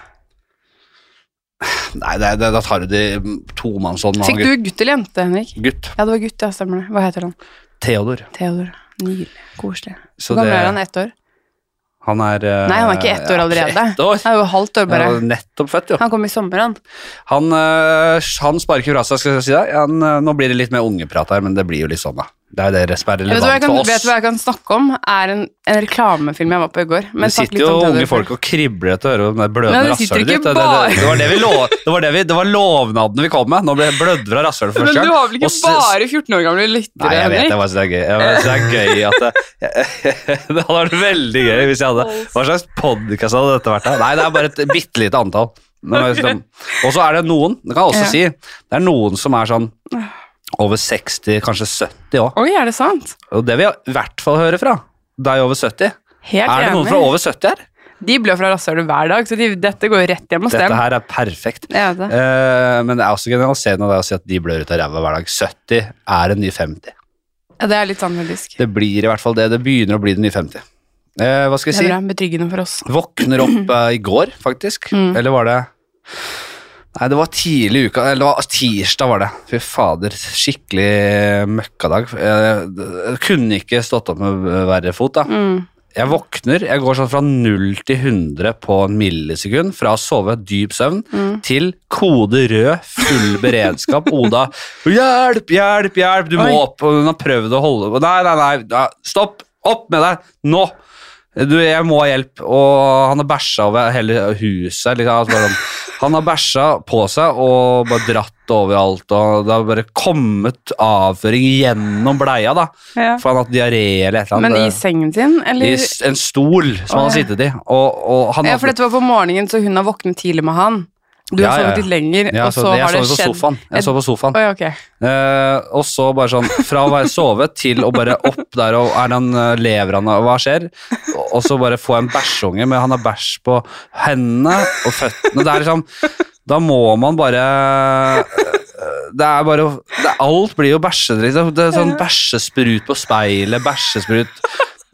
S1: Nei, det, det, da tar du det i tomannshånd med
S2: Fikk
S1: han
S2: du gutt eller jente, Henrik?
S1: gutt- gutt.
S2: Ja, det var gutt, ja, stemmer det. Hva heter han?
S1: Theodor.
S2: Theodor. Nydelig. Koselig.
S1: Så
S2: Hvor gammel
S1: det-
S2: er han? Ett år?
S1: Han er eh,
S2: Nei, han er ikke ett år
S1: ja,
S2: allerede.
S1: Ett år?
S2: Han er jo halvt år bare.
S1: Han er nettopp født, jo.
S2: Han kom i sommer, han.
S1: Han, eh, han sparker fra seg, skal jeg si deg. Han, eh, nå blir det litt mer ungeprat her, men det blir jo litt sånn, da. Det er jo det som er
S2: Vet du, hva jeg
S1: relevant
S2: kan,
S1: for oss.
S2: vet du hva jeg kan snakke om? Er en, en reklamefilm jeg var på i går.
S1: det
S2: snakk
S1: sitter
S2: litt
S1: jo
S2: om Theodor
S1: unge
S2: først.
S1: folk og kribler etter øret om det blødende
S2: Men det sitter
S1: rasshølet
S2: ikke
S1: ditt. Det, det, det, det, var det, vi lov, det, var det, vi, det var lovnadene vi kom med. Nå ble jeg blødd fra rasshølet for
S2: Men
S1: første
S2: du
S1: gang.
S2: har vel
S1: Og
S2: ikke
S1: s-
S2: bare 14 år gamle lyttere,
S1: Nei, jeg vet det.
S2: Henrik?
S1: Jeg bare synes det er gøy. Jeg bare synes det er gøy at det, det hadde vært veldig gøy hvis jeg hadde Hva slags podkast hadde dette vært? da? Nei, det er bare et bitte lite antall. Men jeg synes det- Og så er det noen, det kan jeg også
S2: Ja.
S1: si, det er noen som er sånn over 60, kanskje 70 òg.
S2: Oi, er det sant?
S1: Og det vil jeg i hvert fall høre fra. Deg over 70.
S2: Helt
S1: Er det noen fra
S2: enig.
S1: over 70 her?
S2: De blør fra rasshølet hver dag, så de, dette går jo rett hjem hos
S1: Dette
S2: dem.
S1: her er perfekt.
S2: Jeg vet det.
S1: Eh, men det er også generaliserende av deg å si at de blør ut av ræva hver dag. 70 er en ny 50.
S2: Ja, det er litt sånn faktisk.
S1: Det blir i hvert fall det. Det begynner å bli den nye 50. Eh, hva skal
S2: Det
S1: jeg si?
S2: er bra, betryggende for oss.
S1: Våkner opp eh, i går, faktisk.
S2: Mm.
S1: Eller var det Nei, det var tidlig i uka. Eller det var tirsdag, var det. Fy fader. Skikkelig møkkadag. Jeg, jeg kunne ikke stått opp med verre fot, da.
S2: Mm.
S1: Jeg våkner, jeg går sånn fra 0 til 100 på en millisekund, fra å sove dyp søvn til kode rød, full beredskap, Oda, hjelp, hjelp, hjelp, du må
S2: Oi.
S1: opp, og hun har prøvd å holde, nei, nei, nei, nei, stopp, opp med deg, nå, du, jeg må ha hjelp, og han har bæsja over hele huset, liksom, altså bare sånn, han har bæsja på seg, og bare dratt overalt, og det har bare kommet avføring gjennom bleia, da,
S2: Ja.
S1: for han har hatt diaré eller et eller annet.
S2: Men i sengen sin,
S1: I
S2: eller?
S1: s- en stol som han har
S2: Åh, ja.
S1: sittet i. Og, og han
S2: Ja,
S1: hadde-
S2: for dette var på morgenen, så hun har våknet tidlig med han. Du
S1: Ja, ja,
S2: har
S1: ja.
S2: sovet litt lenger,
S1: Ja,
S2: og så
S1: så jeg
S2: har
S1: sov
S2: det
S1: på
S2: skjedd.
S1: sofaen. Jeg sov på sofaen.
S2: Oi, ok.
S1: Eh, og så bare sånn, fra å være sovet til å bare opp der, og er han, eh, lever han, og hva skjer? Og- Og så bare få en bæsjunge, men han har bæsj på hendene og føttene. Det er liksom, da må man bare eh, det er bare å- det, Alt blir jo bæsjedritt. Liksom. Det er sånn bæsjesprut på speilet, bæsjesprut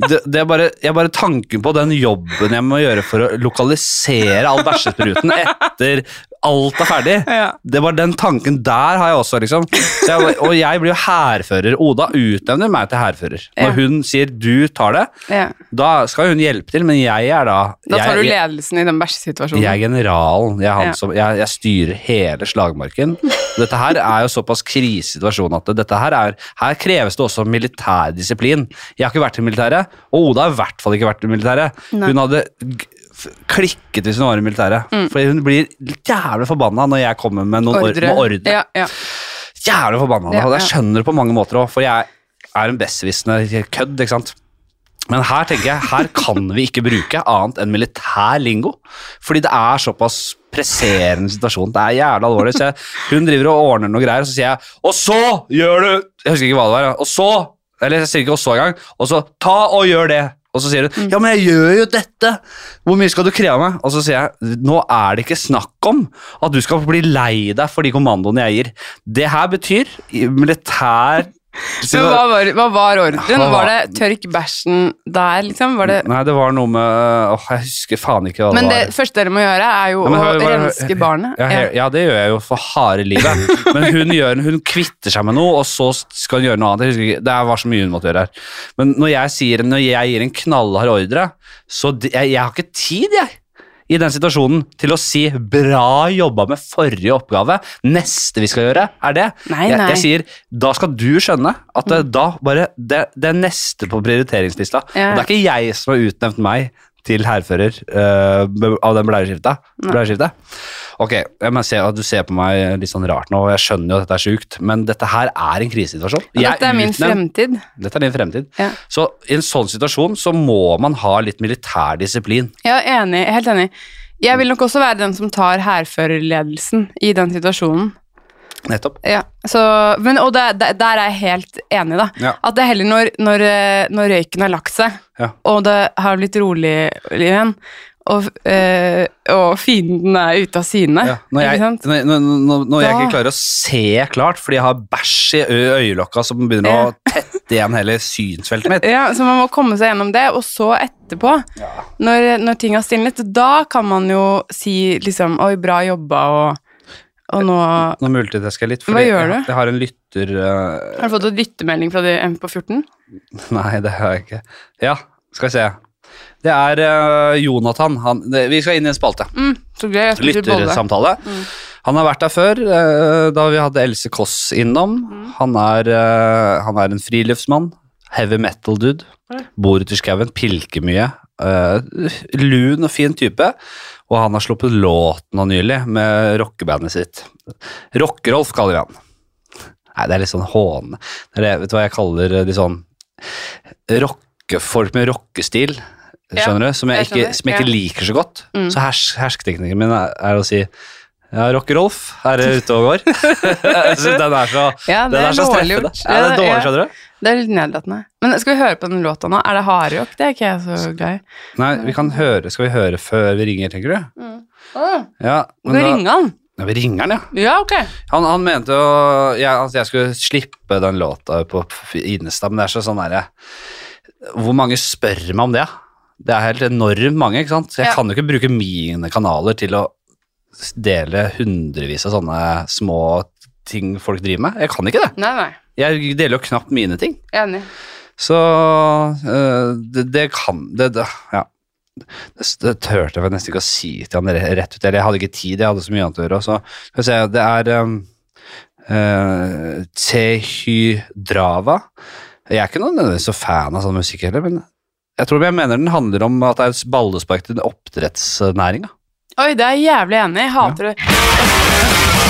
S1: det, det er bare, jeg bare tanken på den jobben jeg må gjøre for å lokalisere all bæsjespruten etter alt er ferdig.
S2: Ja.
S1: Det var den tanken der har jeg også, liksom. Så jeg, og jeg blir jo hærfører. Oda utnevner meg til hærfører. Når
S2: Ja.
S1: hun sier 'du tar det',
S2: Ja.
S1: da skal hun hjelpe til, men jeg er da
S2: Da tar
S1: jeg,
S2: du ledelsen i den bæsjesituasjonen.
S1: jeg er generalen. Jeg, er han
S2: Mm. Ja.
S1: som, jeg, jeg styrer hele slagmarken. Dette her er jo såpass krisesituasjon at det- dette her er Her kreves det også militær disiplin. Jeg har ikke vært i militæret, og Oda har i hvert fall ikke vært i militæret.
S2: Nei.
S1: Hun hadde g- f- klikket hvis hun var i militæret.
S2: Mm.
S1: Fordi hun blir jævlig forbanna når jeg kommer med noen ordre. Med ordre.
S2: Ja, ja.
S1: Jævlig forbanna. da.
S2: Ja,
S1: Og jeg
S2: ja.
S1: skjønner det på mange måter òg, for jeg er en besserwissende kødd, ikke sant. Men her tenker jeg, her kan vi ikke bruke annet enn militær lingo. Fordi det er såpass presserende situasjon. Det er jævlig alvorlig. Så jeg, hun driver og ordner noe greier, og så sier jeg Og så gjør du Jeg husker ikke hva det var. ja. Og så Eller jeg sier ikke og så engang. Og så ta og gjør det. Og så sier hun Ja, men jeg gjør jo dette! Hvor mye skal du kreve av meg? Og så sier jeg Nå er det ikke snakk om at du skal bli lei deg for de kommandoene jeg gir. Det her betyr i militær
S2: Men hva var, hva var ordren?
S1: Hva var-
S2: Var det tørk bæsjen der, liksom? Var det...
S1: Nei, det var noe med Åh, jeg husker faen ikke hva det
S2: Men
S1: var.
S2: det første dere må gjøre, er jo
S1: Ja, men
S2: å
S1: hør, hør, hør.
S2: renske barnet.
S1: Ja, he- ja, det gjør jeg jo for harde livet. Men hun, gjør, hun kvitter seg med noe, og så skal hun gjøre noe annet. Jeg husker ikke, det var så mye hun måtte gjøre her. Men når jeg, sier, når jeg gir en knallhard ordre, så d- jeg, jeg har ikke tid, jeg. I den situasjonen til å si 'bra jobba med forrige oppgave', neste vi skal gjøre, er det.
S2: Nei,
S1: jeg,
S2: nei.
S1: jeg sier da skal du skjønne at
S2: Mm.
S1: det, da bare det, det er neste på prioriteringslista.
S2: Ja.
S1: Og det er ikke jeg som har utnevnt meg til hærfører eh, be- av den bleieskifta. Bleieskiftet. Ok, jeg må se, at du ser på meg litt sånn rart nå, og jeg skjønner jo at dette er sjukt, men dette her er en krisesituasjon.
S2: Ja.
S1: Jeg
S2: Dette er min
S1: utnevnt-
S2: fremtid.
S1: Dette er din fremtid.
S2: Ja.
S1: Så i en sånn situasjon så må man ha litt militær disiplin.
S2: Ja, enig. Helt enig. Jeg vil nok også være den som tar hærførerledelsen i den situasjonen.
S1: Nettopp.
S2: Ja, så, men, og det, det, der er jeg helt enig, da.
S1: Ja.
S2: At det er heller når, når, eh, når røyken har lagt seg,
S1: Ja.
S2: og det har blitt rolig igjen, og, eh, og fienden er ute av sine.
S1: Ja, når jeg,
S2: ikke sant?
S1: når, når, når, når jeg
S2: Da-
S1: ikke klarer å se klart fordi jeg har bæsj i ø- øyelokka som begynner
S2: Ja.
S1: å tette igjen hele synsfeltet mitt.
S2: Ja, så man må komme seg gjennom det, og så etterpå, når, når ting har stilnet, da kan man jo si liksom Oi, bra jobba, og, og nå har
S1: Nå multitasker jeg litt. fordi
S2: Hva gjør
S1: jeg,
S2: du?
S1: jeg har en lytter eh,
S2: du fått en lyttemelding fra de en på 14?
S1: Nei, det har jeg ikke. Ja, skal vi se. Det er eh, Jonathan. Han, det, vi skal inn i en spalte.
S2: Mm, så gøy. Jeg spiser bolle.
S1: Lyttersamtale.
S2: Mm.
S1: Han har vært der før, eh, da vi hadde Else Kåss innom.
S2: Mm.
S1: Han, er, eh, han er en friluftsmann. Heavy metal-dude.
S2: Ja.
S1: Bor ute i skauen, pilker mye. eh, lun og fin type. Og han har sluppet låten nå nylig med rockebandet sitt. Rock-Rolf kaller vi han. Nei, det er litt sånn hån... Det er det, vet du hva jeg kaller eh, de sånn rockefolk med rockestil?
S2: Ja,
S1: Skjønner du? Som jeg,
S2: jeg
S1: ikke,
S2: skjønner,
S1: som jeg ikke liker så godt.
S2: Mm.
S1: Så hers, hersketeknikken min er, er å si ja, Rock-Rolf er ute og går. Jeg synes den er så,
S2: Ja,
S1: den
S2: det
S1: er
S2: er
S1: så
S2: dårlig
S1: streffende.
S2: gjort.
S1: Ja, det er dårlig,
S2: ja.
S1: skjønner du.
S2: Det er litt nedlatende. Men skal vi høre på den låta nå? Er det hardrock? Det er ikke jeg så glad i.
S1: Nei, vi kan høre, skal vi høre før vi ringer, tenker du? Ja,
S2: Skal vi
S1: da,
S2: ringe han?
S1: ja, vi ringer han, ja.
S2: Ja, ok.
S1: Han, han mente å, ja, at jeg skulle slippe den låta på Insta, men det er så sånn derre Hvor mange spør meg om det? Det er helt enormt mange, ikke sant? Så jeg
S2: Ja.
S1: kan jo ikke bruke mine kanaler til å dele hundrevis av sånne små ting folk driver med. Jeg kan ikke det.
S2: Nei, nei.
S1: Jeg deler jo knapt mine ting.
S2: Enig.
S1: Så øh, det, det kan det, det, Ja. Det, det turte jeg nesten ikke å si til han re- rett ut. Eller jeg hadde ikke tid, jeg hadde så mye annet å gjøre. Så skal vi se, det er um, øh, Tehydrava. Jeg er ikke noen nødvendigvis så fan av sånn musikk heller, men jeg tror jeg mener den handler om at det er et ballespark til oppdrettsnæringa.
S2: Oi, det er jeg jævlig enig. Jeg hater det.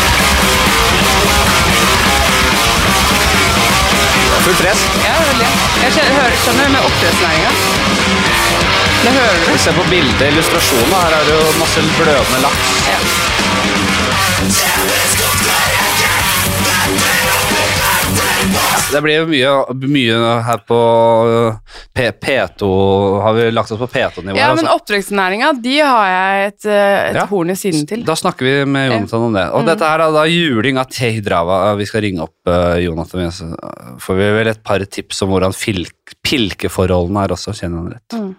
S1: Fullt press.
S2: Ja, veldig. Jeg skjønner, hører, skjønner med oppdrettsnæringa. Det hører du.
S1: Se på bildet, illustrasjonen. Her er det jo masse blødende laks. Det blir jo mye, mye her på uh, P P2 Har vi lagt oss på P2-nivå? Altså,
S2: Ja, men oppdrettsnæringa, de har jeg et, eh, et
S1: Ja.
S2: horn i siden til. Mm.
S1: Da snakker vi med Jonathan om det. Og dette her er da juling av Tehidrava. Vi skal ringe opp uh, Jonathan. så Får vi vel et par tips om hvordan filk, pilkeforholdene er også, kjenner han rett.
S2: Mm.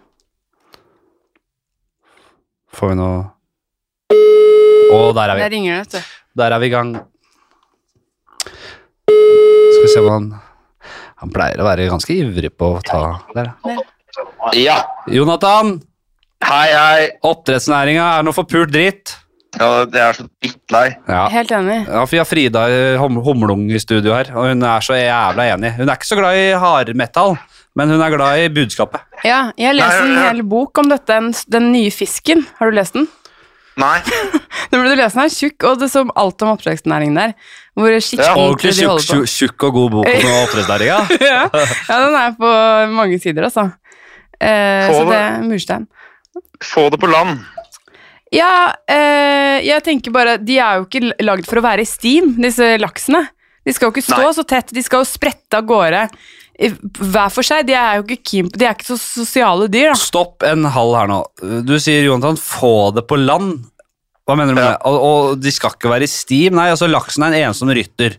S1: Får vi noe Å, der er vi.
S2: Der ringer det, vet du.
S1: Der er vi i gang. Skal vi se om han Han pleier å være ganske ivrig på å ta Der, ja.
S3: Ja,
S1: Jonathan!
S3: hei, hei.
S1: Oppdrettsnæringa er noe forpult dritt.
S3: Ja, jeg er så drittlei.
S1: Ja.
S2: Helt enig.
S1: Ja, for Vi har Frida eh, Hom Homlung i studio her, og hun er så jævla enig. Hun er ikke så glad i hardmetall, men hun er glad i budskapet.
S2: Ja, jeg leser
S3: Nei,
S2: en
S3: ja.
S2: hel bok om dette, den, den nye fisken. Har du lest den?
S3: Nei.
S2: Den burde du lese, den er tjukk, og det står alt om oppdrettsnæringen der. Hvor skikkelig
S3: Ja,
S1: Ordentlig
S2: de
S1: tjukk,
S2: holder på.
S1: tjukk, tjukk og god bok om oppdrettsnæringa.
S2: ja. ja, den er på mange sider, altså. Eh, så
S3: Få det.
S2: det er murstein.
S3: Få det på land.
S2: Ja, eh, jeg tenker bare De er jo ikke lagd for å være i steam, disse laksene. De skal jo ikke stå
S3: Nei.
S2: så tett, de skal jo sprette av gårde i- hver for seg. De er jo ikke keen på De er ikke så sosiale dyr, da.
S1: Stopp en halv her nå. Du sier Jonathan, få det på land. Hva mener du med
S3: Ja.
S1: det? Og, og de skal ikke være i stim? Nei, altså laksen er en ensom rytter.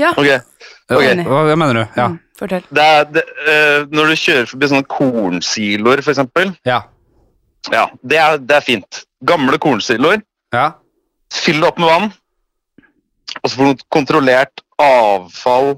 S2: Ja,
S3: Ok.
S2: Enig.
S3: ok.
S1: Hva, hva mener du? Ja.
S2: Mm, fortell.
S3: Det er, det, eh, når du kjører forbi sånne kornsiloer, for eksempel.
S1: Ja.
S3: Ja, det er, det er fint. Gamle kornsiloer.
S1: ja.
S3: Fyll det opp med vann. Og så får du kontrollert avfall.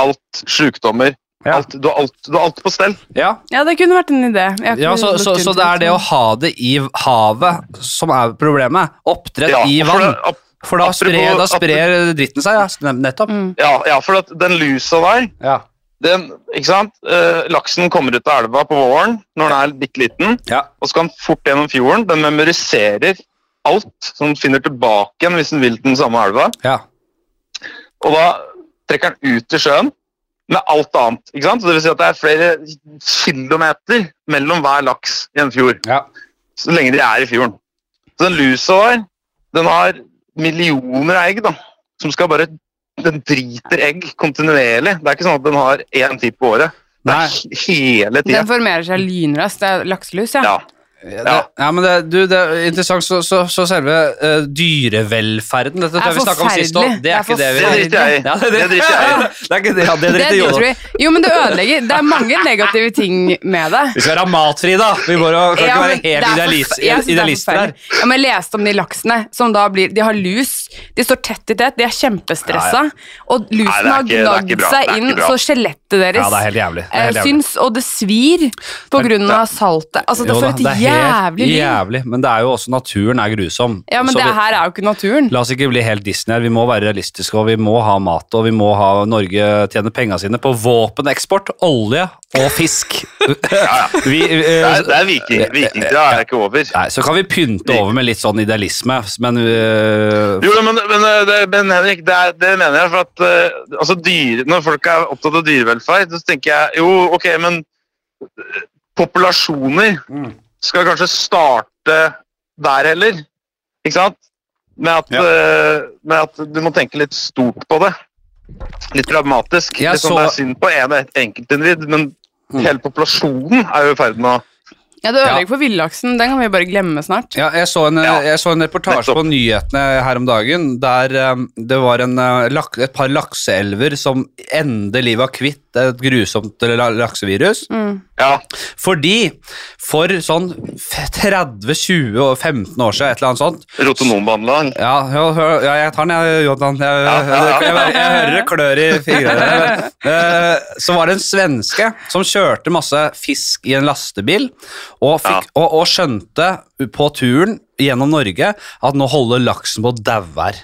S3: Alt. Sjukdommer.
S1: Ja.
S3: Alt, du, har alt, du har alt på stell.
S1: ja.
S2: Ja, det kunne vært en idé. Jeg har ikke
S1: Ja, så,
S2: lagt
S1: så,
S2: rundt
S1: så det er det å ha det i havet som er problemet. Oppdrett
S3: Ja,
S1: i
S3: for
S1: vann.
S3: det- ap-
S1: For da
S3: apropos-
S1: sprer, da sprer dritten seg, ja. Nem- Nettopp.
S2: Mm.
S3: Ja, ja, for at den lusa der
S1: Ja.
S3: den, ikke sant? Eh, laksen kommer ut av elva på våren når den er bitte liten,
S1: Ja.
S3: og så skal den fort gjennom fjorden. Den memoriserer alt som den finner tilbake igjen hvis den vil til den samme elva.
S1: ja.
S3: Og da trekker den ut i sjøen med alt annet. ikke sant? Så det vil si at det er flere kilometer mellom hver laks i en fjord,
S1: ja.
S3: så lenge de er i fjorden. Så den lusa der, den har millioner av egg, da, som skal bare Den driter egg kontinuerlig. Det er ikke sånn at den har én tid på året. Det
S1: Nei.
S3: er he- hele tida.
S2: Den formerer seg lynraskt. Det er lakselus, ja.
S3: Ja.
S1: Ja, det, ja, men det, du, det er interessant, så, så, så selve eh, dyrevelferden Dette tror jeg vi snakket om sist òg.
S2: forferdelig.
S1: Det er ikke det vi
S3: Det driter jeg i.
S1: Ja, det,
S3: Det driter jeg i.
S1: Det er ikke det, ja, det
S2: Det
S1: driter
S2: driter
S1: Jonas
S2: vi i. Jo, men det ødelegger. Det er mange negative ting med det.
S1: Vi skal være matfrie, da. Vi må, kan ikke
S2: Ja, men
S1: være
S2: det er
S1: helt
S2: forf-
S1: idealis-
S2: jeg synes det er
S1: idealister her.
S2: forferdelig. Ja, men jeg leste om de laksene som da blir De har lus, de står tett i tett, de er kjempestressa. Og lusen
S3: Nei, det er
S2: har
S3: ikke- det er
S2: gnagd
S3: ikke bra. Det er
S2: seg
S3: ikke
S2: inn,
S3: bra.
S2: så skjelettet deres
S1: Ja, det er helt jævlig. Det er
S2: eh,
S1: helt jævlig.
S2: syns, og det svir på grunn av saltet. Altså, det
S1: Jo da,
S2: får et
S1: det er helt
S2: jævlig liv.
S1: jævlig, men det er jo også naturen er grusom.
S2: Ja, men
S1: Så
S2: det
S1: vi-
S2: her er jo ikke naturen.
S1: La oss ikke bli helt Disney her. Vi må være realistiske, og vi må ha mat, og vi må ha Norge tjene penga sine på våpeneksport, olje og fisk. vi, eh,
S3: Det er, det er viking. Vikingtida er ikke over.
S1: Nei, så kan vi pynte over med litt sånn idealisme, men øh,
S3: Jo, men, men, eh, det, men Henrik, det, er, det mener jeg. for at eh, altså, dyre, Når folk er opptatt av dyrevelferd, så tenker jeg jo, ok, men eh, populasjoner skal kanskje starte der heller. Ikke sant? Med at,
S4: Ja.
S3: eh, med at du må tenke litt stort på det. Litt dramatisk.
S1: Jeg
S3: Litt sånn,
S1: så-
S3: Det er synd på en enkeltindivid, men hele populasjonen er jo i ferd med å
S2: Ja, det
S1: Ja.
S2: ødelegger for villaksen. Den kan vi bare glemme snart.
S1: ja, jeg, så en, eh,
S3: Ja.
S1: jeg så en reportasje
S3: Nettopp.
S1: på nyhetene her om dagen der øhm, det var en, øh, lak, et par lakseelver som endelig var kvitt et grusomt eh, la- laksevirus.
S2: Mm.
S3: Ja.
S1: Fordi for sånn f- 30, 20 og 15 år siden, et eller annet sånt
S3: Rotonombehandling.
S1: Ja, hør, hør, ja jeg tar den, jeg, Jonathan. Jeg,
S3: Ja, ja,
S1: jeg,
S3: ja.
S1: jeg, jeg hører det klør i fingrene. Men, eh, så var det en svenske som kjørte masse fisk i en lastebil, og, fikk, og, og skjønte på turen gjennom Norge at nå holder laksen på å daue her.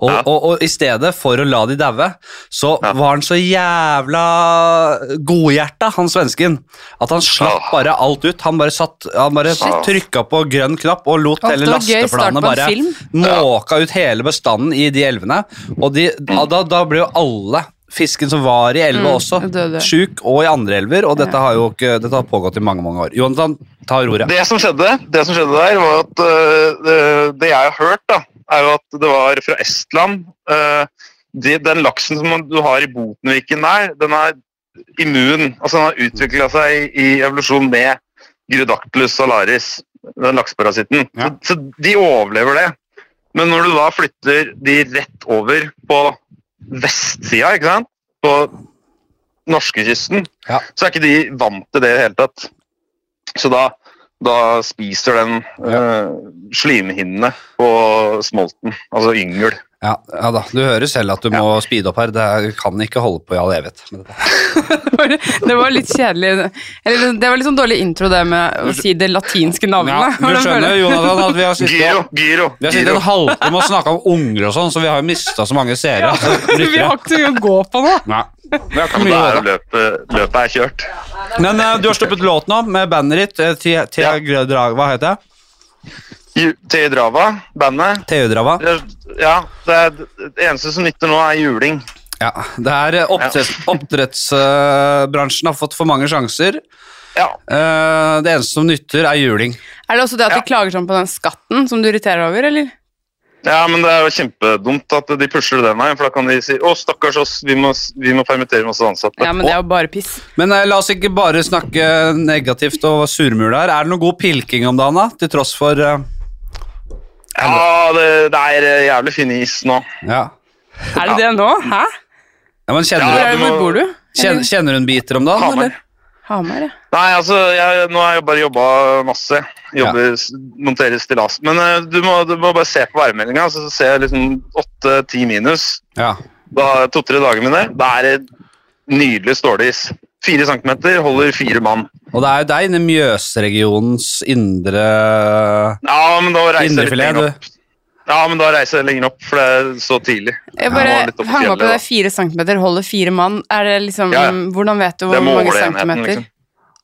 S1: Og,
S3: Ja.
S1: og, og i stedet for å la de daue, så
S3: Ja.
S1: var han så jævla godhjerta, han svensken, at han slapp
S3: Ah.
S1: bare alt ut. Han bare, satt- han bare
S3: Shit.
S1: trykka på grønn knapp og lot
S2: Ofte
S1: hele
S2: en gøy
S1: lasteplanet
S2: start på en
S1: bare
S2: film.
S1: måka ut hele bestanden i de elvene. Og de, da, da, da ble jo alle fisken som var i elva
S2: Mm,
S1: også,
S2: døde.
S1: sjuk, og i andre elver. Og dette har jo ikke, dette har pågått i mange mange år. Jonathan, ta ordet.
S3: Det som skjedde, det som skjedde der, var at øh, det- det jeg har hørt, da, er jo at det var fra Estland øh, de, Den laksen som du har i Botenviken der, den er immun. Altså den har utvikla seg i, i evolusjon med Gyrodactylus salaris, den lakseparasitten.
S4: Ja.
S3: Så, så de overlever det. Men når du da flytter de rett over på vestsida, ikke sant, på norskekysten,
S1: Ja.
S3: så er ikke de vant til det i det hele tatt. Så da, da spiser den eh, slimhinnene på smolten, altså yngel.
S1: Ja, ja da, du hører selv at du må speede opp her. Det er- kan ikke holde på i all evighet. med dette.
S2: Det var litt kjedelig. Eller, det var litt sånn dårlig intro, det med å si det latinske
S1: Ja,
S2: navnet.
S1: du
S2: Hvordan føler
S1: skjønner, Jonathan, at vi har
S3: Gyro,
S1: sittet
S3: gyro,
S1: vi har sittet
S3: gyro.
S1: en halvtime og snakka om unger og sånn, så vi har jo mista så mange seere. og
S2: Vi har
S1: lyttere.
S2: ikke så mye å gå på nå.
S1: Nei, vi har ikke
S3: Da
S1: mye å
S3: er
S1: gjøre.
S3: jo løpet, løpet er kjørt.
S1: Men eh, du har sluppet låt nå, med bandet ditt. eh, Tia Tia Grødrag, hva heter det?
S3: Ju- Til Drava, bandet.
S1: Teudrava.
S3: Ja, det, er, det eneste som nytter nå, er juling.
S1: Ja, det er eh, oppdretts, Oppdrettsbransjen har fått for mange sjanser.
S3: Ja.
S1: Eh, det eneste som nytter, er juling.
S2: Er det også det at
S3: Ja.
S2: de klager sånn på den skatten som du irriterer over, eller?
S3: ja, men det er jo kjempedumt at de pusher den veien, for da kan de si å, stakkars oss, vi må, vi må permittere masse ansatte.
S2: Ja, men det er jo bare piss.
S1: Men eh, la oss ikke bare snakke negativt og surmule her. Er det noe god pilking om dagen, da? Til tross for eh,
S3: Ja, det, det er eh, jævlig fin is nå.
S1: Ja.
S2: Er det det nå? Hæ?
S1: ja men
S2: Hvor,
S1: kjenner,
S3: Ja,
S2: er,
S3: du må-
S2: hvor bor du?
S1: du, kjenner, kjenner hun biter om dagen,
S3: Hamar.
S1: eller?
S2: Hamar, ja.
S3: Nei, altså, jeg, nå har jeg bare jobba masse. Jobber, s- Monterer stillas. Men eh, du, må, du må bare se på værmeldinga, så ser jeg liksom åtte-ti minus.
S1: Ja.
S3: Da To-tre dager med det. Da er det nydelig stålis. Fire centimeter holder fire mann.
S1: Og det er jo deg inne i Mjøsregionens indre
S3: Ja, men da reiser jeg litt
S1: Indrefilet, du.
S3: lenger opp. Ja, men da reiser jeg lenger opp, for det er så tidlig.
S2: Jeg
S3: Ja,
S2: bare
S3: litt opp på
S2: hang meg på
S3: fjellet,
S2: det fire centimeter, holder fire mann. Er det liksom,
S3: Ja, ja.
S2: Hvordan vet du
S3: Det
S2: hvor
S3: er
S2: mange
S3: måleenheten,
S2: centimeter
S3: liksom.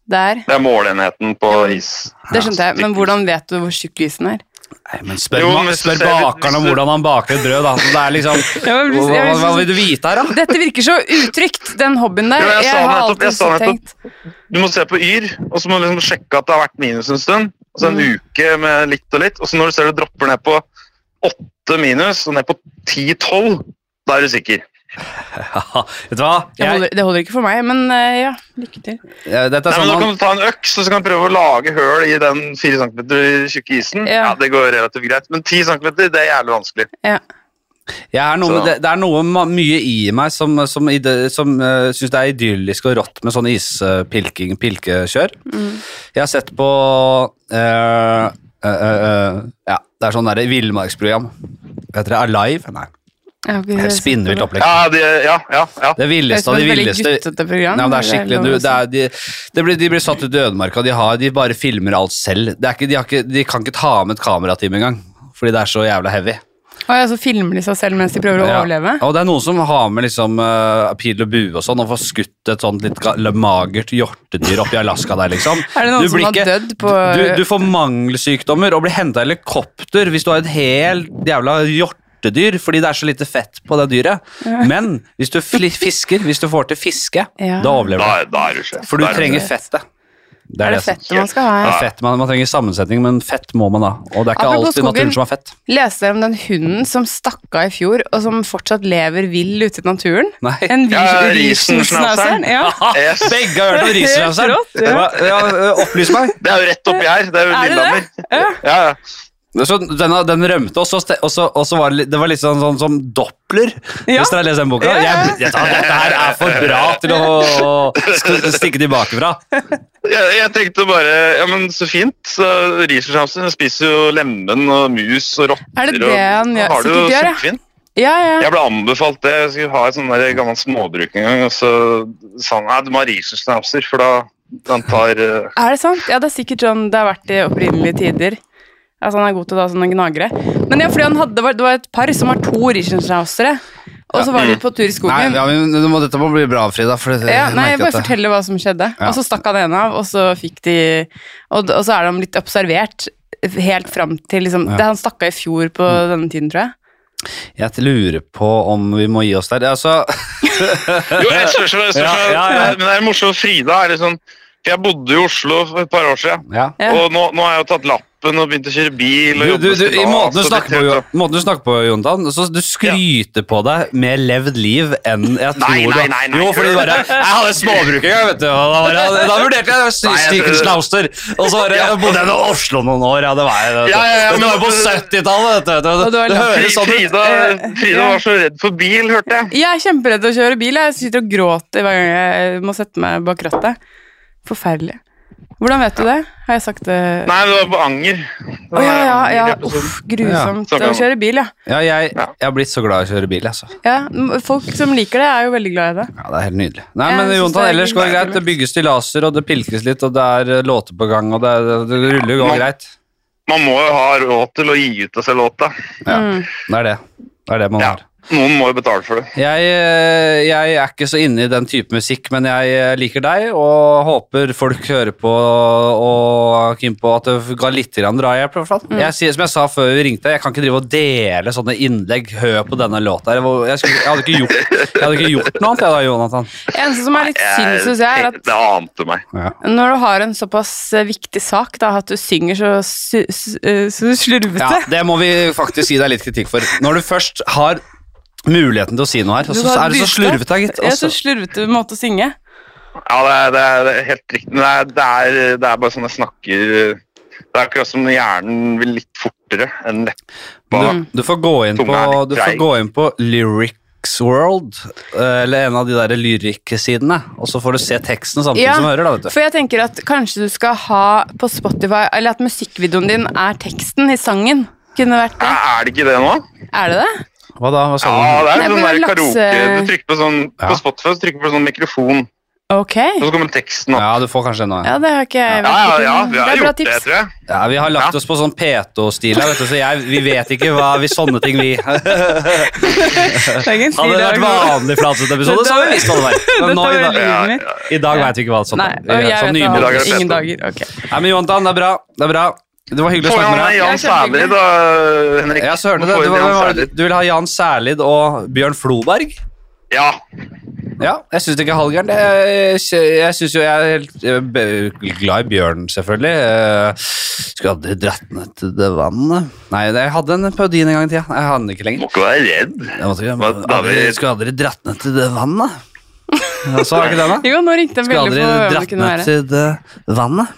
S2: det er?
S3: Det er måleenheten på is.
S2: Det skjønte jeg, men hvordan vet du hvor tjukk isen er?
S1: Nei, men spør,
S3: Jo,
S1: ma-
S3: men hvis du
S1: spør
S3: ser-
S1: bakeren om
S3: hvis du-
S1: hvordan han baker et brød, da. Så det er liksom
S2: Ja, men hvis-
S1: hva,
S2: ja,
S1: hva,
S2: hvis-
S1: hva vil du vite her, da?
S2: Dette virker så utrygt, den hobbyen der.
S3: Jo, jeg
S2: jeg,
S3: sa
S2: har
S3: nettopp- jeg
S2: alltid
S3: sa
S2: så
S3: nettopp.
S2: tenkt.
S3: Du må se på Yr, og så må du liksom sjekke at det har vært minus en stund. Og så en uke med litt og litt. Og så når du ser det dropper ned på åtte minus og ned på ti-tolv, da er du sikker.
S1: Vet du hva?
S2: Det
S1: Jeg,
S2: holder, det holder ikke for meg, men eh, ja, lykke til.
S1: jeg, dette er
S3: Nei, men
S1: sånn
S3: Da
S1: man
S3: kan du ta en øks og så kan du prøve å lage høl i den 4 cm tjukke isen.
S2: Ja.
S3: Ja. Det går relativt greit, men 10 cm det er jævlig vanskelig.
S2: Ja.
S1: Jeg er noe,
S3: Så-
S1: det, det er noe ma- mye i meg som, som, i det- som eh, syns det er idyllisk og rått med sånn ispilking, pilkekjør.
S2: Mm.
S1: Jeg har sett på eh, eh, eh, Ja, det er sånn derre villmarksprogram. Heter det Alive? Nei,
S2: Jeg har ikke
S1: helt
S2: sett
S1: spinnvilt
S2: på det.
S1: opplegg.
S3: Ja, det, ja, ja, ja.
S1: Det villeste av
S2: Det
S1: de
S2: er et veldig
S1: villeste.
S2: guttete program,
S1: Nei, men det er
S2: eller er det
S1: skikkelig,
S2: lov
S1: du,
S2: å
S1: det er, de, det blir, de blir satt ut i ødemarka. De, har, de bare filmer alt selv. Det er ikke, de, har ikke, de kan ikke ta med et kamerateam engang, fordi det er så jævla heavy.
S2: Å ja, så filmer de seg selv mens de prøver å
S1: Ja.
S2: overleve?
S1: Og det er noen som har med liksom eh, pil og bue og sånn, og får skutt et sånt litt ga- magert hjortedyr oppi Alaska der, liksom.
S2: Er det noen
S1: Du
S2: som
S1: blir
S2: har dødd på-
S1: Du, du får mangelsykdommer og blir henta i helikopter hvis du har et helt jævla hjortedyr, fordi det er så lite fett på det dyret. Men hvis du fli- fisker, hvis du får til fiske,
S2: Ja.
S1: da overlever du.
S3: Da, er- da er du sjef.
S1: For du
S3: Da er
S1: trenger
S3: sjef.
S1: fettet. Det
S2: Er
S1: er det.
S2: det
S1: som-
S2: fett man skal ha?
S1: Det
S2: Ja.
S1: er fett, man, man trenger sammensetning, men fett må man ha. Og det er ikke
S2: Apropos
S1: alltid naturen
S2: skogen.
S1: som har fett.
S2: Leste dere om den hunden som stakk av i fjor, og som fortsatt lever vill ute i naturen?
S1: Nei.
S2: En vill
S3: Ja,
S2: riesenschnauzeren?
S3: riesenschnauzeren.
S2: Ja.
S3: Yes.
S1: Begge har hørt om
S2: Helt
S1: risenlauseren.
S2: rått, ja.
S1: Opplys meg.
S3: Det er jo rett oppi her. Det er jo
S2: Er det
S3: Lillehammer. Ja, ja.
S1: Så den, den rømte, og så, ste- og så, og så var det, litt- det var litt sånn, sånn som Doppler.
S2: Ja.
S1: Hvis dere har lest den boka.
S2: Ja, ja.
S1: Jeg, jeg tar, dette her er for bra til å sk- stikke tilbake fra.
S3: Jeg, jeg tenkte bare Ja, men så fint. Så Riesenschnauzeren spiser jo lemen og mus og rotter.
S2: Er det det han
S3: og,
S2: gjør?
S3: Har det jo
S2: Sikkert gjør, ja.
S3: kjempefint.
S2: Ja, ja.
S3: Jeg ble anbefalt det. Jeg skulle ha et sånn der gammelt småbruk en gang, og så sa han nei, du må ha riesenschnauzer, for da den tar eh,
S2: Er det sant? Ja, det er sikkert sånn det har vært i opprinnelige tider. Altså, han er god til å ta sånne gnagere. Men ja, fordi han hadde, det var- det var et par som har to riesenschnauzere, og så var de på tur i skogen.
S1: Nei, ja, men du må, dette må bli bra, Frida. For det,
S2: Ja,
S1: jeg
S2: nei,
S1: Eh, merker
S2: jeg bare
S1: at det-
S2: forteller hva som skjedde.
S1: Ja.
S2: Og så stakk han ene av, og så fikk de Og, og så er de litt observert helt fram til liksom
S1: Ja. Mm.
S2: det Han stakk av i fjor på denne tiden, tror jeg.
S1: Jeg lurer på om vi må gi oss der. Altså,
S3: Jo, jeg synes det, jeg synes det.
S1: Ja, ja, ja.
S3: Men det er morsomt. Frida er litt sånn for Jeg bodde i Oslo for et par år siden,
S1: ja.
S2: Ja.
S3: og nå, nå har jeg jo tatt lappen og begynt å kjøre bil.
S1: Du,
S3: og
S1: du,
S3: jobbe
S1: du, I
S3: stas
S1: måten du
S3: og
S1: snakker på,
S3: litt-
S1: Jo- måten du snakker på Jontan, så du skryter på deg mer levd liv enn jeg tror
S3: Nei,
S1: du
S3: nei, nei, nei.
S1: Jo, fordi du bare Jeg hadde småbruk en gang, vet du. Og da, bare, da vurderte jeg
S3: Nei, jeg-
S1: Stikenslauster. Og så bare jeg bodde jeg i Oslo noen år, ja, det var jeg. vet du.
S3: Ja, ja, ja,
S1: Men det var
S3: men-
S1: på 70-tallet, vet du.
S2: Og du
S1: Det,
S2: har
S1: det
S2: lagt-
S1: høres sånn ut.
S3: Frida, Frida var så redd for bil, hørte jeg.
S2: Jeg er kjemperedd å kjøre bil. Jeg sitter og gråter hver gang jeg må sette meg bak rattet. Forferdelig. Hvordan vet du det? Har jeg sagt det?
S3: Nei, det var på Anger.
S2: Å
S3: Det var
S2: ja, ja, ja.
S3: Anger-episoden.
S2: Uff, grusomt
S3: Ja.
S2: å kjøre bil, ja.
S1: Ja, jeg,
S3: Ja.
S1: jeg har blitt så glad i å kjøre bil, altså.
S2: ja. m- Folk som liker det, er jo veldig glad i det.
S1: Ja, Det er helt nydelig. Nei,
S2: Jeg
S1: men
S2: synes
S1: Jontan,
S2: det er
S1: ellers går det greit. Det bygges stillaser, og det pilkes litt, og det er eh, låter på gang, og det, er- det ruller jo
S3: Ja.
S1: greit.
S3: Man må jo ha råd til å gi ut av seg låta.
S1: Ja,
S2: Mm.
S1: det er det. Det er det man
S3: Ja.
S1: har.
S3: Noen må jo betale for det.
S1: Jeg, eh, jeg er ikke så inne i den type musikk, men jeg eh, liker deg og håper folk hører på og Kim på at det ga litt grann drahjelp. i hvert
S2: Mm.
S1: fall. Jeg sier som jeg sa før vi ringte, jeg kan ikke drive og dele sånne innlegg. Hør på denne låta. her. Jeg, skulle, jeg, hadde ikke gjort, jeg hadde ikke gjort noe annet, jeg da, Jonathan.
S2: Eneste som er litt synd, syns jeg, er at
S3: Det ante meg.
S1: Ja.
S2: Når du har en såpass eh, viktig sak, da, at du synger så, su su eh, så slurvete
S1: ja, Det må vi faktisk gi deg litt kritikk for. Når du først har muligheten til å si noe her, og
S2: Du
S1: så
S2: har
S1: er du så
S2: budskap.
S1: slurvete, gitt. altså?
S2: Ja,
S1: og
S2: så
S1: så-
S2: slurvete måte å synge.
S3: Ja, det er, det er, det er helt riktig. Det er, det, er, det er bare sånn jeg snakker Det er akkurat som hjernen vil litt fortere enn leppa.
S2: Mm.
S1: Du, du får gå inn på,
S3: Tunga er litt
S1: du får
S3: treig.
S1: gå inn på Lyrics World, eh, eller en av de der lyriksidene, og så får du se teksten samtidig
S2: Ja,
S1: som du hører, da, vet du.
S2: For jeg tenker at kanskje du skal ha på Spotify Eller at musikkvideoen din er teksten i sangen. Kunne vært
S3: Ja,
S2: det.
S3: er det ikke det nå?
S2: Er det det?
S1: Hva da? Hva sa
S3: Ja,
S1: du?
S3: det er
S2: Nei,
S3: sånn
S2: men eh,
S3: der
S2: lakse-
S3: karaoke Du trykker på sånn
S1: Ja.
S3: På Spotify så trykker du på sånn mikrofon,
S2: Ok.
S3: og så kommer teksten opp.
S1: Ja, du får kanskje en annen.
S2: Ja, det har ikke jeg
S3: Ja, ja, ja, vi
S2: Det
S3: har
S2: er bra
S3: gjort det,
S2: tips.
S3: tror jeg.
S1: Ja, vi har lagt
S3: Ja.
S1: oss på sånn peto-stil her, vet du, så jeg, vi vet ikke hva vi sånne ting vi Hadde
S2: Det er ikke en stil
S1: det vært
S2: jeg har gått-
S1: vanlig flatset-episode, så hadde vi visst hva det var. Men
S2: Dette
S1: nå,
S2: var
S1: i
S2: veldig
S1: dag,
S2: livet
S3: Ja,
S2: mitt.
S3: ja.
S1: i dag vet vi ikke hva sånt
S2: Nei,
S1: Vi
S2: og
S1: gjør
S2: jeg
S1: sånn
S2: vet
S1: nymoderne.
S3: I dag er
S2: aldri.
S3: det
S2: Ingen
S3: fett.
S2: dager. Ok.
S1: Nei, men Jontan, det er bra. Det er bra. Det var hyggelig å
S3: Få
S1: snakke
S3: igjen
S1: med deg.
S2: Ja,
S3: Jan
S2: kjempehyggelig.
S3: Sæbli, da, Henrik.
S1: Ja, så hørte
S3: Må
S1: du det.
S3: få
S1: Du,
S3: inn Jan
S1: var-
S3: Sæbli.
S1: du vil ha Jan Særlid og Bjørn Floberg?
S3: Ja.
S1: Ja, jeg syns ikke Hallgæren. det er- Jeg syns jo jeg er helt eh, b- glad i bjørn, selvfølgelig. Eh, Skulle aldri dratt ned til det vannet. Nei, det- jeg hadde en parodien en gang i tida. Jeg hadde den ikke lenger.
S3: Må ikke være redd.
S1: Jeg måtte, ikke-
S3: Hva, da
S1: aldri,
S3: vi-
S1: skulle aldri dratt ned til det vannet. Ja, så var ikke den, da?
S2: Jo, nå ringte en
S1: Skulle
S2: veldig
S1: aldri
S2: på hvem det
S1: dratt
S2: kunne
S1: ned
S2: være.
S1: til det vannet.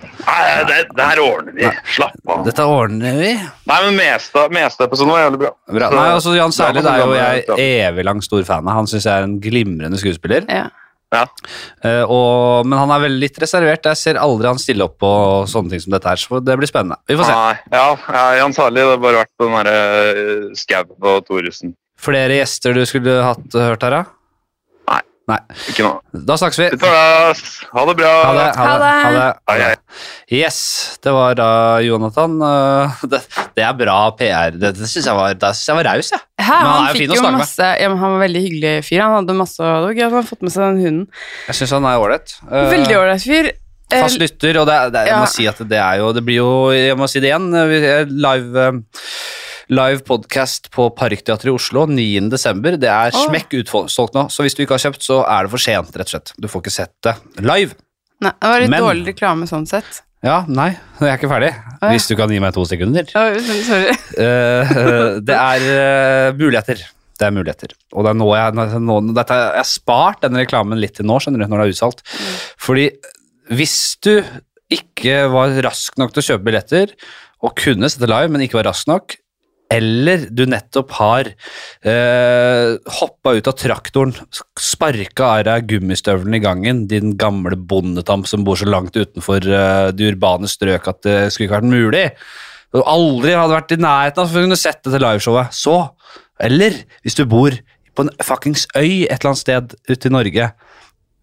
S3: Nei, nei, det, det her ordner vi. Slapp av.
S1: Dette ordner vi.
S3: Nei, men Mestad- Mestad-episoden var jævlig bra.
S1: Bra.
S3: Så-
S1: Nei, altså Jan Særli det
S3: Ja,
S1: er jo
S3: men-
S1: jeg evig lang stor fan av. Han syns jeg er en glimrende skuespiller.
S2: Ja.
S3: Ja.
S1: Eh, og, men han er veldig litt reservert. Jeg ser aldri han stille opp på sånne ting som dette her. Så det blir spennende. Vi får se.
S3: Nei, ja, ja, Jan Sarli, det har bare vært på den derre uh, skauen og Thoresen.
S1: Flere gjester du skulle hatt eh, hørt her, da?
S3: Nei.
S1: Nei.
S3: Ikke noe.
S1: Da snakkes vi.
S3: Vi tar det, ass. Ha det bra.
S1: Ha det. Ha det.
S2: Ha
S1: Ha det.
S3: Hei, hei.
S1: Yes, det var da Jonathan. Eh, Det, det er bra PR. Det, det syns jeg var, da synes jeg var raus, jeg.
S2: Hæ,
S1: Men
S2: han,
S1: han er jo fin
S2: fikk
S1: å
S2: jo
S1: snakke med.
S2: masse ja, men Han var veldig hyggelig fyr. Han hadde masse Det var gøy at han hadde fått med seg den hunden.
S1: Jeg syns han er ålreit. Eh,
S2: Veldig ålreit fyr. Eh,
S1: Fast lytter, og det, er- det, er- jeg
S2: Ja.
S1: må si at det er jo Det blir jo, jeg må si det igjen, vi er live eh, Live podcast på Parkteatret i Oslo 9. desember. Det er
S2: Åh.
S1: smekk utsolgt nå, så hvis du ikke har kjøpt, så er det for sent, rett og slett. Du får ikke sett det live.
S2: Nei, det var litt
S1: Men-
S2: dårlig reklame sånn sett.
S1: Ja, nei, jeg er ikke ferdig.
S2: ja.
S1: Hvis du kan gi meg to sekunder.
S2: Ja, Sorry.
S1: Eh, det er eh, muligheter. Det er muligheter. Og det er nå jeg, nå- nå, dette, jeg har spart denne reklamen litt til nå, skjønner du, når det er utsolgt. Fordi hvis du ikke var rask nok til å kjøpe billetter, og kunne sette live, men ikke var rask nok, eller du nettopp har eh, hoppa ut av traktoren, sparka av deg gummistøvelen i gangen, din gamle bondetamp som bor så langt utenfor eh, de urbane strøk at det skulle ikke vært mulig, og aldri hadde vært i nærheten av å kunne sett dette liveshowet, så Eller hvis du bor på en fuckings øy et eller annet sted ute i Norge.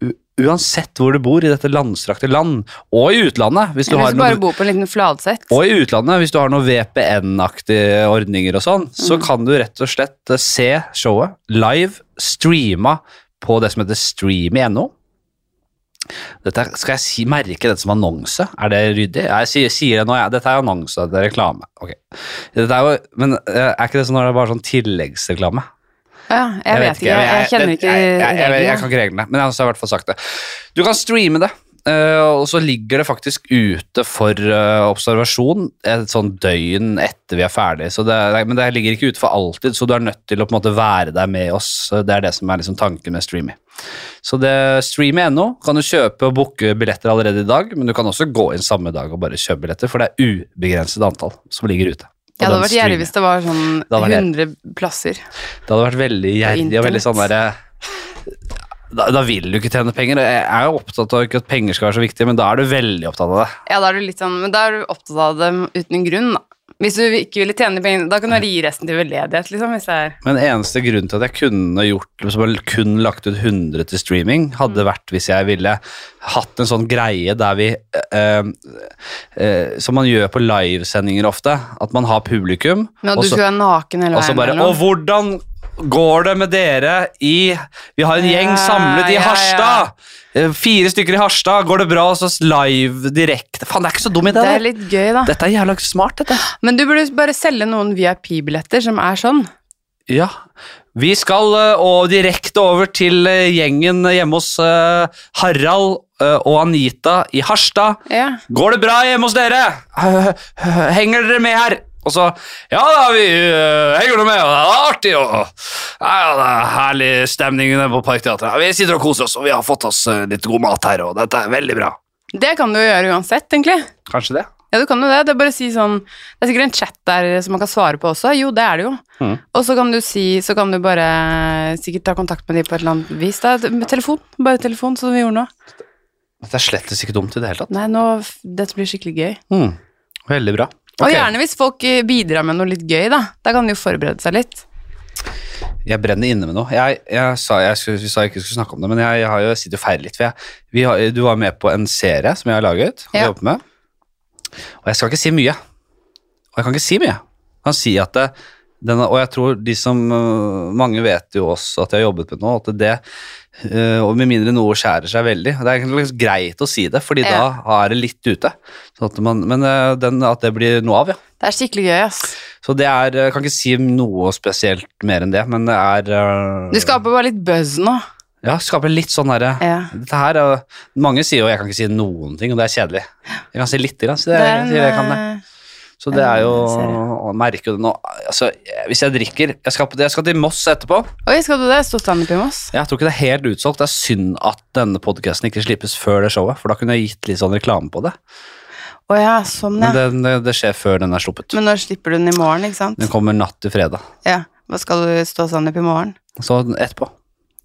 S1: u- Uansett hvor du bor i dette landstrakte land, og i utlandet hvis du
S2: Hvis
S1: har
S2: du
S1: noen-
S2: bare bor på en liten fladsett.
S1: og i utlandet, hvis du har noen VPN-aktige ordninger og sånn, så kan du rett og slett eh, se showet live streama på det som heter streamy.no. Dette er- skal jeg si, merke dette som annonse? Er det ryddig? Jeg sier, sier det nå, jeg. Dette er annonse, det er reklame. Ok. Dette er jo, men eh, er ikke det sånn når det er bare sånn tilleggsreklame?
S2: Ja, jeg, vet ikke. Jeg, jeg kjenner
S1: det-
S2: ikke
S1: jeg, jeg, jeg, jeg,
S2: reglene.
S1: kan ikke reglene, men jeg har i hvert fall sagt det. Du kan streame det, eh, og så ligger det faktisk ute for eh, observasjon et sånn døgn etter vi er ferdig. Så det, er- men det ligger ikke ute for alltid, så du er nødt til å på en måte være der med oss. Det er det som er liksom tanken med streamy. Så det streamy.no kan du kjøpe og booke billetter allerede i dag, men du kan også gå inn samme dag og bare kjøpe billetter, for det er ubegrenset antall som ligger ute.
S2: Ja, det hadde vært gjerrig
S1: gjerrig
S2: hvis det var sånn
S1: Det hadde vært gjerrig.
S2: 100 plasser.
S1: det hadde vært veldig gjerrig og veldig sånn derre da, da vil du ikke tjene penger. Jeg er jo opptatt av ikke at penger skal være så viktig, men da er du veldig opptatt av det.
S2: Ja, da er du litt sånn Men da er du opptatt av dem uten en grunn, da. Hvis du ikke ville tjene de pengene, da kan du bare gi resten til veldedighet, liksom. Hvis det er
S1: Men eneste grunnen til at jeg kunne gjort liksom, eller kun lagt ut 100 til streaming, hadde vært hvis jeg ville hatt en sånn greie der vi eh, eh, Som man gjør på livesendinger ofte, at man har publikum.
S2: Men at
S1: og
S2: du
S1: så-
S2: skulle være naken hele
S1: Og så
S2: veien.
S1: bare
S2: eller noe.
S1: Og hvordan går det med dere i Vi har en gjeng
S2: Ja,
S1: samlet i
S2: ja,
S1: Harstad! Eh, Fire stykker i Harstad. Går det bra hos oss live direkte? Faen, det er ikke så dum idé.
S2: det
S1: da.
S2: er litt gøy, da.
S1: Dette er jævla smart, dette.
S2: Men du burde bare selge noen VIP-billetter som er sånn.
S1: Ja. Vi skal eh, og direkte over til eh, gjengen hjemme hos eh, Harald eh, og Anita i Harstad.
S2: Ja.
S1: Går det bra hjemme hos dere? Henger dere med her? Og så Ja da, vi øh, henger nå med, og det er artig, og ja, ja, det er herlig stemning inne på Parkteatret. Vi sitter og koser oss, og vi har fått oss øh, litt god mat her, og dette er veldig bra.
S2: Det kan du jo gjøre uansett, egentlig.
S1: Kanskje det?
S2: Ja, du kan jo det. Det er bare å si sånn Det er sikkert en chat der som man kan svare på også. Jo, det er det jo.
S1: Mhm.
S2: Og så kan du si Så kan du bare sikkert ta kontakt med de på et eller annet vis. Da. Med telefon. Bare telefon, som vi gjorde nå.
S1: Dette er slettes ikke dumt i det hele tatt.
S2: Nei, nå f- Dette blir skikkelig gøy.
S1: Mm. Veldig bra.
S2: Og
S1: Ok,
S2: gjerne hvis folk eh, bidrar med noe litt gøy, da. Da kan de jo forberede seg litt.
S1: Jeg brenner inne med noe. Jeg, jeg, sa, jeg, skulle, vi sa jeg ikke skulle snakke om det, men jeg, har jo, jeg sitter og feiler litt. For jeg, vi har, du var med på en serie som jeg har laget, og
S2: Ja.
S1: jobbet med. Og jeg skal ikke si mye. Og jeg kan ikke si mye. Jeg kan si at det, denne, og jeg tror de som øh, Mange vet jo også at jeg har jobbet med noe, at det øh, Og med mindre noe skjærer seg veldig. Det er egentlig greit å si det, fordi
S2: Ja.
S1: da er det litt ute. Sånn at man, men øh, den, at det blir noe av, ja.
S2: Det er skikkelig gøy, ass.
S1: Så det er eh, Jeg kan ikke si noe spesielt mer enn det, men det er øh,
S2: Du skaper bare litt buzz nå.
S1: Ja, skaper litt sånn herre
S2: Ja.
S1: Dette her er Mange sier jo 'jeg kan ikke si noen ting', og det er kjedelig. Jeg kan si lite grann, så det,
S2: er en,
S1: sier jeg kan det.
S2: eh,
S1: Så det er jo
S2: Serie.
S1: å merke det nå. Altså, hvis jeg drikker Jeg skal, på- jeg skal til Moss etterpå.
S2: Oi, skal du det? Stort standup i Moss?
S1: Jeg tror ikke det er helt utsolgt. Det er synd at denne podkasten ikke slippes før det showet, for da kunne jeg gitt litt sånn reklame på det.
S2: Å ja, sånn,
S1: Men
S2: ja.
S1: det, det, det skjer før den er sluppet.
S2: Men når slipper du den i morgen, ikke sant?
S1: Den kommer natt til fredag.
S2: Ja. Hva skal du stå standup i morgen?
S1: Så den etterpå.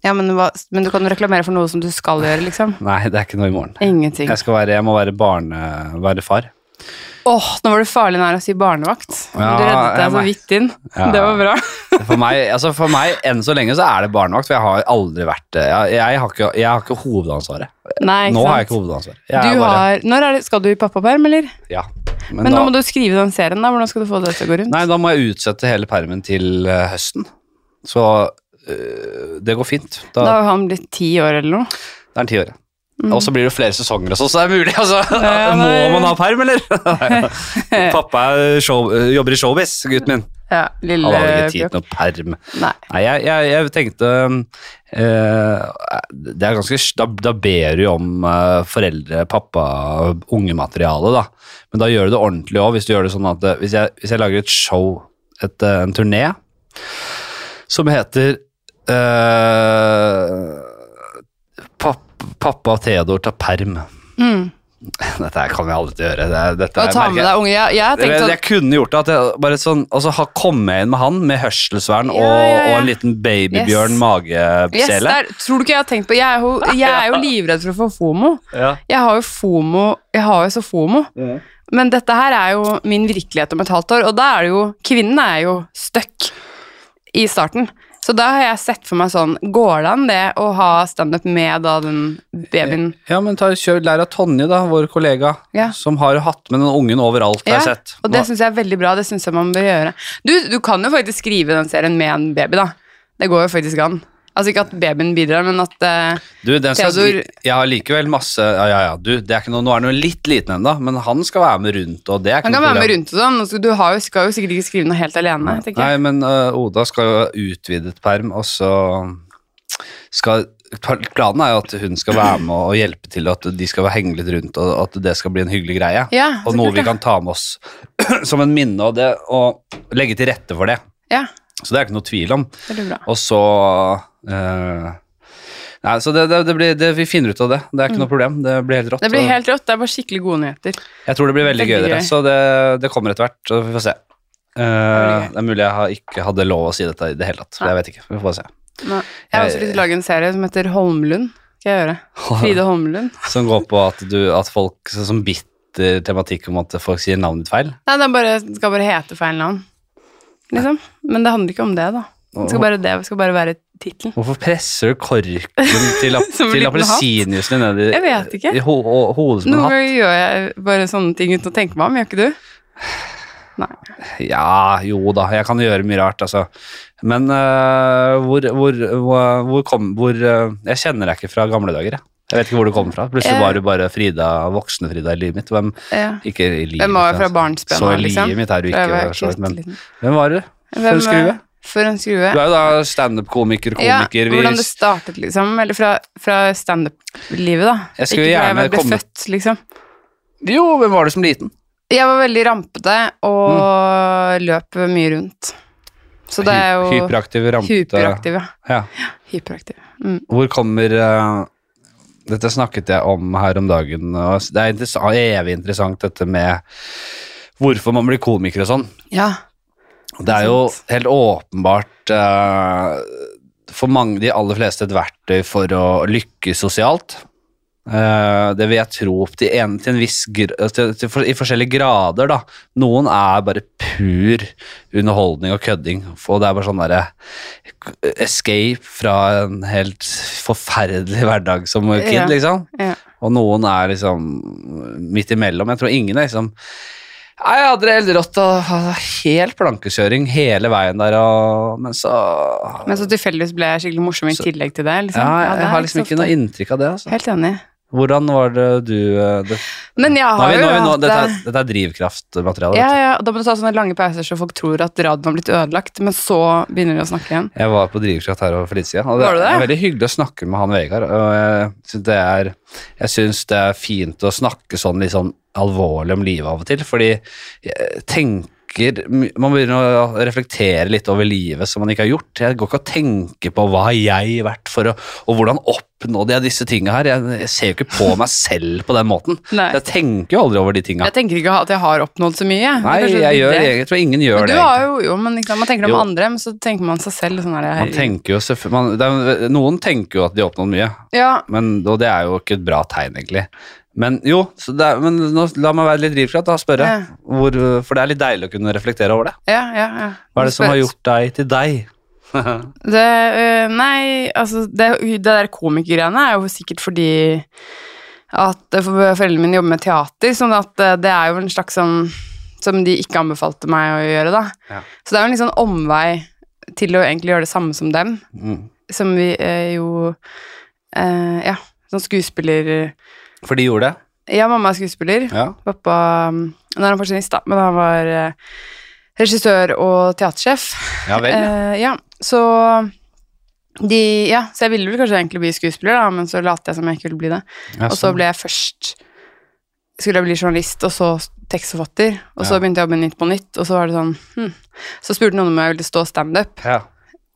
S2: Ja, men, hva, men du kan reklamere for noe som du skal gjøre, liksom.
S1: Nei, det er ikke noe i morgen.
S2: Ingenting.
S1: Jeg,
S2: Åh,
S1: skal være, jeg må være barne... Være far.
S2: nå var du farlig nær å si barnevakt.
S1: Ja,
S2: du reddet
S1: jeg
S2: deg så
S1: mer-
S2: vidt inn.
S1: Ja.
S2: Det var bra.
S1: For meg, altså for meg, enn så lenge, så er det barnevakt, for jeg har aldri vært det. Jeg, jeg, har, ikke, jeg har ikke hovedansvaret.
S2: Nei, ikke
S1: Nå har jeg
S2: sant?
S1: ikke hovedansvaret. Jeg er
S2: Du
S1: bare-
S2: har, når er det, skal du i pappaperm, eller?
S1: Ja.
S2: Men, nå må du skrive den serien, da. Hvordan skal du få det til å gå rundt?
S1: Nei, da må jeg utsette hele permen til eh, høsten. Så eh, det går fint.
S2: Da
S1: Da,
S2: har jo han blitt ti år eller noe.
S1: det er en tiåret. Og så blir det flere sesonger også, så det er mulig. Altså.
S2: Ja,
S1: må
S2: nei.
S1: man ha perm, eller? Nei. Pappa er show, jobber i showbiz, gutten min.
S2: Ja, lille
S1: Han hadde ikke tid til
S2: Bjørk.
S1: noe perm.
S2: Nei.
S1: Nei, jeg, jeg, jeg tenkte eh, det er ganske, da, da ber du jo om eh, foreldre, pappa, unge-materiale, da. Men da gjør du det ordentlig òg. Hvis, du gjør det sånn at, eh, hvis, jeg- hvis jeg lager et show, et, eh, en turné, som heter eh, Papp, 'Pappa og Theodor tar perm'.
S2: Mm.
S1: Dette her kan vi aldri gjøre. Det, er- dette
S2: Og
S1: er-
S2: ta
S1: merker
S2: med
S1: jeg-
S2: deg unge. Jeg, jeg har
S1: jeg,
S2: tenkt
S1: jeg,
S2: sånn
S1: jeg kunne gjort det at jeg bare sånn Og så ha- komme inn med han med hørselsvern
S2: Ja,
S1: og,
S2: ja, ja.
S1: og en liten babybjørn
S2: Yes. Yes, det
S1: magesele.
S2: er, tror du ikke jeg har tenkt på Jeg er jo, jeg er jo livredd for å få fomo.
S1: Ja.
S2: Jeg har jo fomo Jeg har jo så fomo. Men dette her er jo min virkelighet om et halvt år, og da er det jo Kvinnen er jo stuck i starten. Så da har jeg sett for meg sånn Går det an det å ha standup med da den babyen
S1: ja, men ta, kjør, lær av Tonje, da, vår kollega,
S2: Ja.
S1: som har hatt med den ungen overalt. har jeg
S2: Ja,
S1: sett.
S2: Og det syns jeg er veldig bra. Det syns jeg man bør gjøre. Du, du kan jo faktisk skrive den serien med en baby, da. Det går jo faktisk an. Altså ikke at babyen bidrar, men at eh,
S1: du, den skal,
S2: Theodor-
S1: Jeg har likevel masse Ja, ja, ja, du, det er ikke noe, nå er han jo litt liten ennå, men han skal være med rundt, og det er ikke
S2: Han kan
S1: noe
S2: være med
S1: problem.
S2: rundt og sånn. og så Du har jo, skal jo sikkert ikke skrive noe helt alene. tenker
S1: Nei,
S2: jeg.
S1: men øh, Oda skal jo ha utvidet perm, og så skal Planen er jo at hun skal være med og hjelpe til, at de skal henge litt rundt, og at det skal bli en hyggelig greie.
S2: Ja,
S1: og
S2: så
S1: noe
S2: klart
S1: vi
S2: det.
S1: kan ta med oss som en minne av det, og legge til rette for det.
S2: Ja,
S1: Så det er ikke noe tvil om.
S2: veldig bra.
S1: Og så eh, Nei, så det, det, det blir, det, vi finner ut av det. Det er ikke noe problem. Det blir helt rått.
S2: Mm. Det blir
S1: og
S2: helt rått. Det er bare skikkelig gode nyheter.
S1: jeg tror det blir veldig,
S2: veldig
S1: gøy, dere.
S2: gøy.
S1: Så det, det kommer etter hvert, så vi får se. Eh,
S2: blir gøy.
S1: det er mulig jeg har ikke hadde lov å si dette i det hele tatt. Jeg vet ikke. Vi får bare se.
S2: Nå, jeg har også lyst til å lage en serie som heter Holmlund. Skal jeg gjøre. Fride Holmlund.
S1: Som går på at, du, at folk sånn som bitter tematikk om at folk sier navnet ditt feil.
S2: Nei, den bare, den skal bare hete feil navn. Liksom. Men det handler ikke om det, da. Det skal bare, det skal bare være tittelen.
S1: Hvorfor presser du korken til, ap
S2: Som en
S1: til
S2: liten hatt.
S1: appelsinjuicen din ned i,
S2: Jeg vet ikke.
S1: i ho ho hodet som en
S2: Noen
S1: hatt?
S2: ganger gjør jeg bare sånne ting uten å tenke meg om, gjør ikke du?
S1: Ja, jo da, jeg kan gjøre mye rart, altså. Men øh, hvor, hvor, hvor, hvor kom hvor, øh, Jeg kjenner deg ikke fra gamle dager, jeg. Jeg vet ikke hvor du kommer fra. Plutselig
S2: Eh.
S1: var du bare Frida, voksne Frida i livet mitt. Hvem,
S2: Ja.
S1: ikke i livet
S2: Hvem var jeg
S1: mitt,
S2: fra
S1: altså.
S2: barnsben
S1: Så
S2: av,
S1: i
S2: liksom?
S1: livet mitt er du
S2: Fra jeg
S1: ikke,
S2: var
S1: for så vidt, men
S2: knøttliten.
S1: hvem var du? For en
S2: Hvem, eh,
S1: skrue?
S2: For en skrue.
S1: Du er jo da standup-komiker, komiker.
S2: Ja, hvordan det
S1: vi,
S2: startet, liksom. Eller fra, fra standup-livet, da.
S1: Jeg skulle
S2: Ikke fra
S1: gjerne
S2: jeg ble
S1: komme-
S2: født, liksom.
S1: jo, hvem var du som liten?
S2: Jeg var veldig rampete og løp mye rundt. Så det er jo
S1: Mm. Hy- Hyperaktiv, ramte
S2: Hyperaktiv, ja.
S1: Ja.
S2: Hyperaktiv. Mm.
S1: Hvor kommer eh, Dette snakket jeg om her om dagen. Og s- det er interessa- evig interessant dette med hvorfor man blir komiker og sånn.
S2: Ja.
S1: Det er jo helt åpenbart eh, for mange, de aller fleste, et verktøy for å lykkes sosialt. Eh, det vil jeg tro opp til en, til en viss gr eh, til, til, for, i forskjellige grader, da. Noen er bare pur underholdning og kødding, og det er bare sånn derre eh, escape fra en helt forferdelig hverdag som kid,
S2: Ja.
S1: liksom.
S2: Ja.
S1: Og noen er liksom midt imellom. Jeg tror ingen er liksom Nei, jeg hadde det helt rått og hadde helt plankekjøring hele veien der, og, men så
S2: Men så tilfeldigvis ble jeg skikkelig morsom i
S1: Så-
S2: tillegg til det.
S1: ja,
S2: liksom.
S1: jeg,
S2: det er
S1: har liksom
S2: så
S1: ikke
S2: ofte.
S1: noe inntrykk av det. Altså.
S2: Helt enig.
S1: Hvordan var det du eh, det,
S2: Men jeg
S1: nå
S2: har
S1: er vi, nå
S2: jo
S1: er vi nå,
S2: hatt
S1: Dette er,
S2: det.
S1: dette er drivkraftmateriale.
S2: Ja,
S1: vet du.
S2: ja, Da må du ta sånne lange pauser så folk tror at radioen har blitt ødelagt, men så begynner de å snakke igjen.
S1: Jeg var på Drivkraft her for litt siden. Og
S2: Var du det?
S1: er veldig hyggelig å snakke med han Vegard. Og jeg syns det, er- jeg synes det er fint å snakke sånn litt sånn alvorlig om livet av og til, fordi jeg tenker my- man begynner å reflektere litt over livet som man ikke har gjort. Jeg går ikke og tenker på hva har jeg vært for, å, og hvordan oppnådde jeg disse tinga her. Jeg, jeg ser jo ikke på meg selv på den måten.
S2: Nei.
S1: Jeg tenker jo aldri over de tinga.
S2: Jeg tenker ikke at jeg har oppnådd så mye. jeg.
S1: Nei,
S2: Kanskje
S1: jeg,
S2: det er
S1: gjør,
S2: det.
S1: jeg, tror ingen gjør
S2: Men
S1: det.
S2: du
S1: egentlig.
S2: har jo, jo, men ikke sant, man tenker om
S1: Jo.
S2: andre, men så tenker man seg selv. Sånn her,
S1: Man tenker jo selvfø- man, det er, Noen tenker jo at de har oppnådd mye,
S2: Ja,
S1: men, og det er jo ikke et bra tegn, egentlig. Men jo, så det er, men nå, la meg være litt drivkraft og spørre.
S2: Ja.
S1: Hvor, for det er litt deilig å kunne reflektere over det.
S2: ja, ja, ja.
S1: Hva er det som har gjort deg til deg?
S2: Det, øh, nei, altså det, det der komikergreiene er jo sikkert fordi at øh, for- foreldrene mine jobber med teater, sånn at øh, det er jo en slags sånn som de ikke anbefalte meg å gjøre, da.
S1: Ja.
S2: Så det er jo en litt sånn omvei til å egentlig gjøre det samme som dem,
S1: Mm.
S2: som vi øh, jo øh, Ja, sånn skuespiller
S1: For de gjorde det.
S2: Ja, mamma er skuespiller.
S1: Ja.
S2: Pappa um, Nå er han pensjonist, da, men han var eh, regissør og teatersjef.
S1: Ja vel, ja.
S2: Eh, ja, så um, de Ja, så jeg ville vel kanskje egentlig bli skuespiller, da, men så lot jeg som jeg ikke ville bli det.
S1: Ja,
S2: Og så
S1: sånn.
S2: ble jeg først Skulle jeg bli journalist, og så tekstforfatter, og så
S1: Ja.
S2: begynte jeg å jobbe i Nytt på Nytt, og så var det sånn hm. Så spurte noen om jeg ville stå standup,
S1: ja.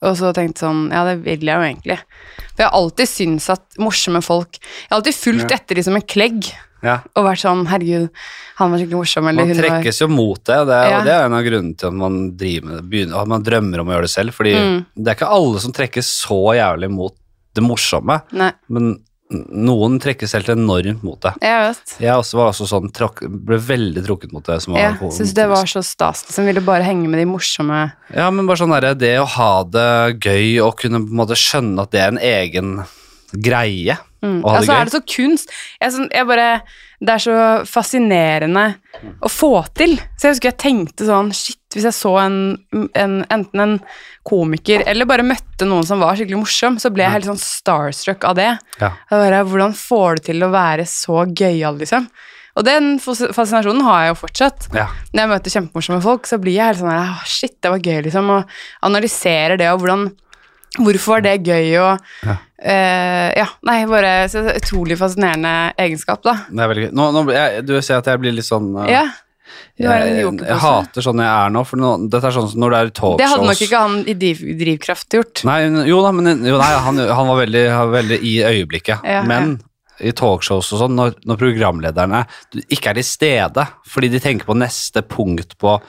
S2: og så tenkte jeg sånn Ja, det vil jeg jo egentlig. For jeg har alltid syntes at morsomme folk Jeg har alltid fulgt
S1: Ja.
S2: etter de som en klegg
S1: ja.
S2: og vært sånn Herregud, han var skikkelig morsom. Eller
S1: Man
S2: hun var
S1: trekkes jo mot det, og det, er-
S2: Ja.
S1: og det er en av grunnene til at man, driver med, det, begynner, at man drømmer om å gjøre det selv. Fordi
S2: Mm.
S1: det er ikke alle som trekkes så jævlig mot det morsomme,
S2: Nei,
S1: men noen trekkes helt enormt mot det.
S2: jeg vet.
S1: Jeg også var også sånn, trakk, ble veldig trukket mot det. Som var
S2: Jeg syns det var
S1: liksom.
S2: så stas. Som ville bare henge med de morsomme
S1: Ja, men bare sånn der, det å ha det gøy og kunne på en måte skjønne at det er en egen greie
S2: mm.
S1: å ha
S2: Altså,
S1: det
S2: er
S1: gøy.
S2: det så kunst? Jeg, er sånn- jeg bare Det er så fascinerende å få til. Så jeg husker jeg tenkte sånn Shit, hvis jeg så en, en enten en komiker eller bare møtte noen som var skikkelig morsom, så
S1: Mm.
S2: ble jeg helt sånn starstruck av det.
S1: Ja.
S2: Jeg bare, hvordan får du til å være så gøyal, liksom? Og den fas- fascinasjonen har jeg jo fortsatt.
S1: Ja.
S2: når jeg møter kjempemorsomme folk, så blir jeg helt sånn her, «Åh, shit, det var gøy, liksom, og analyserer det, og hvordan, hvorfor var det gøy, og
S1: Ja.
S2: eh, ja nei, bare så det er utrolig fascinerende egenskap, da.
S1: Det er veldig gøy. Nå, nå, ble jeg, du ser at jeg blir litt sånn uh,
S2: Ja, du har en
S1: jeg, jeg,
S2: jokerpose.
S1: hater sånn jeg er nå, for nå, dette er sånn som når det er talkshows.
S2: det hadde nok ikke han i driv, drivkraft gjort.
S1: Nei, jo da, men jo, nei, han, han var veldig, han var veldig i øyeblikket.
S2: Ja,
S1: men i talkshows og sånn, når, når programlederne ikke er til stede fordi de tenker på neste punkt på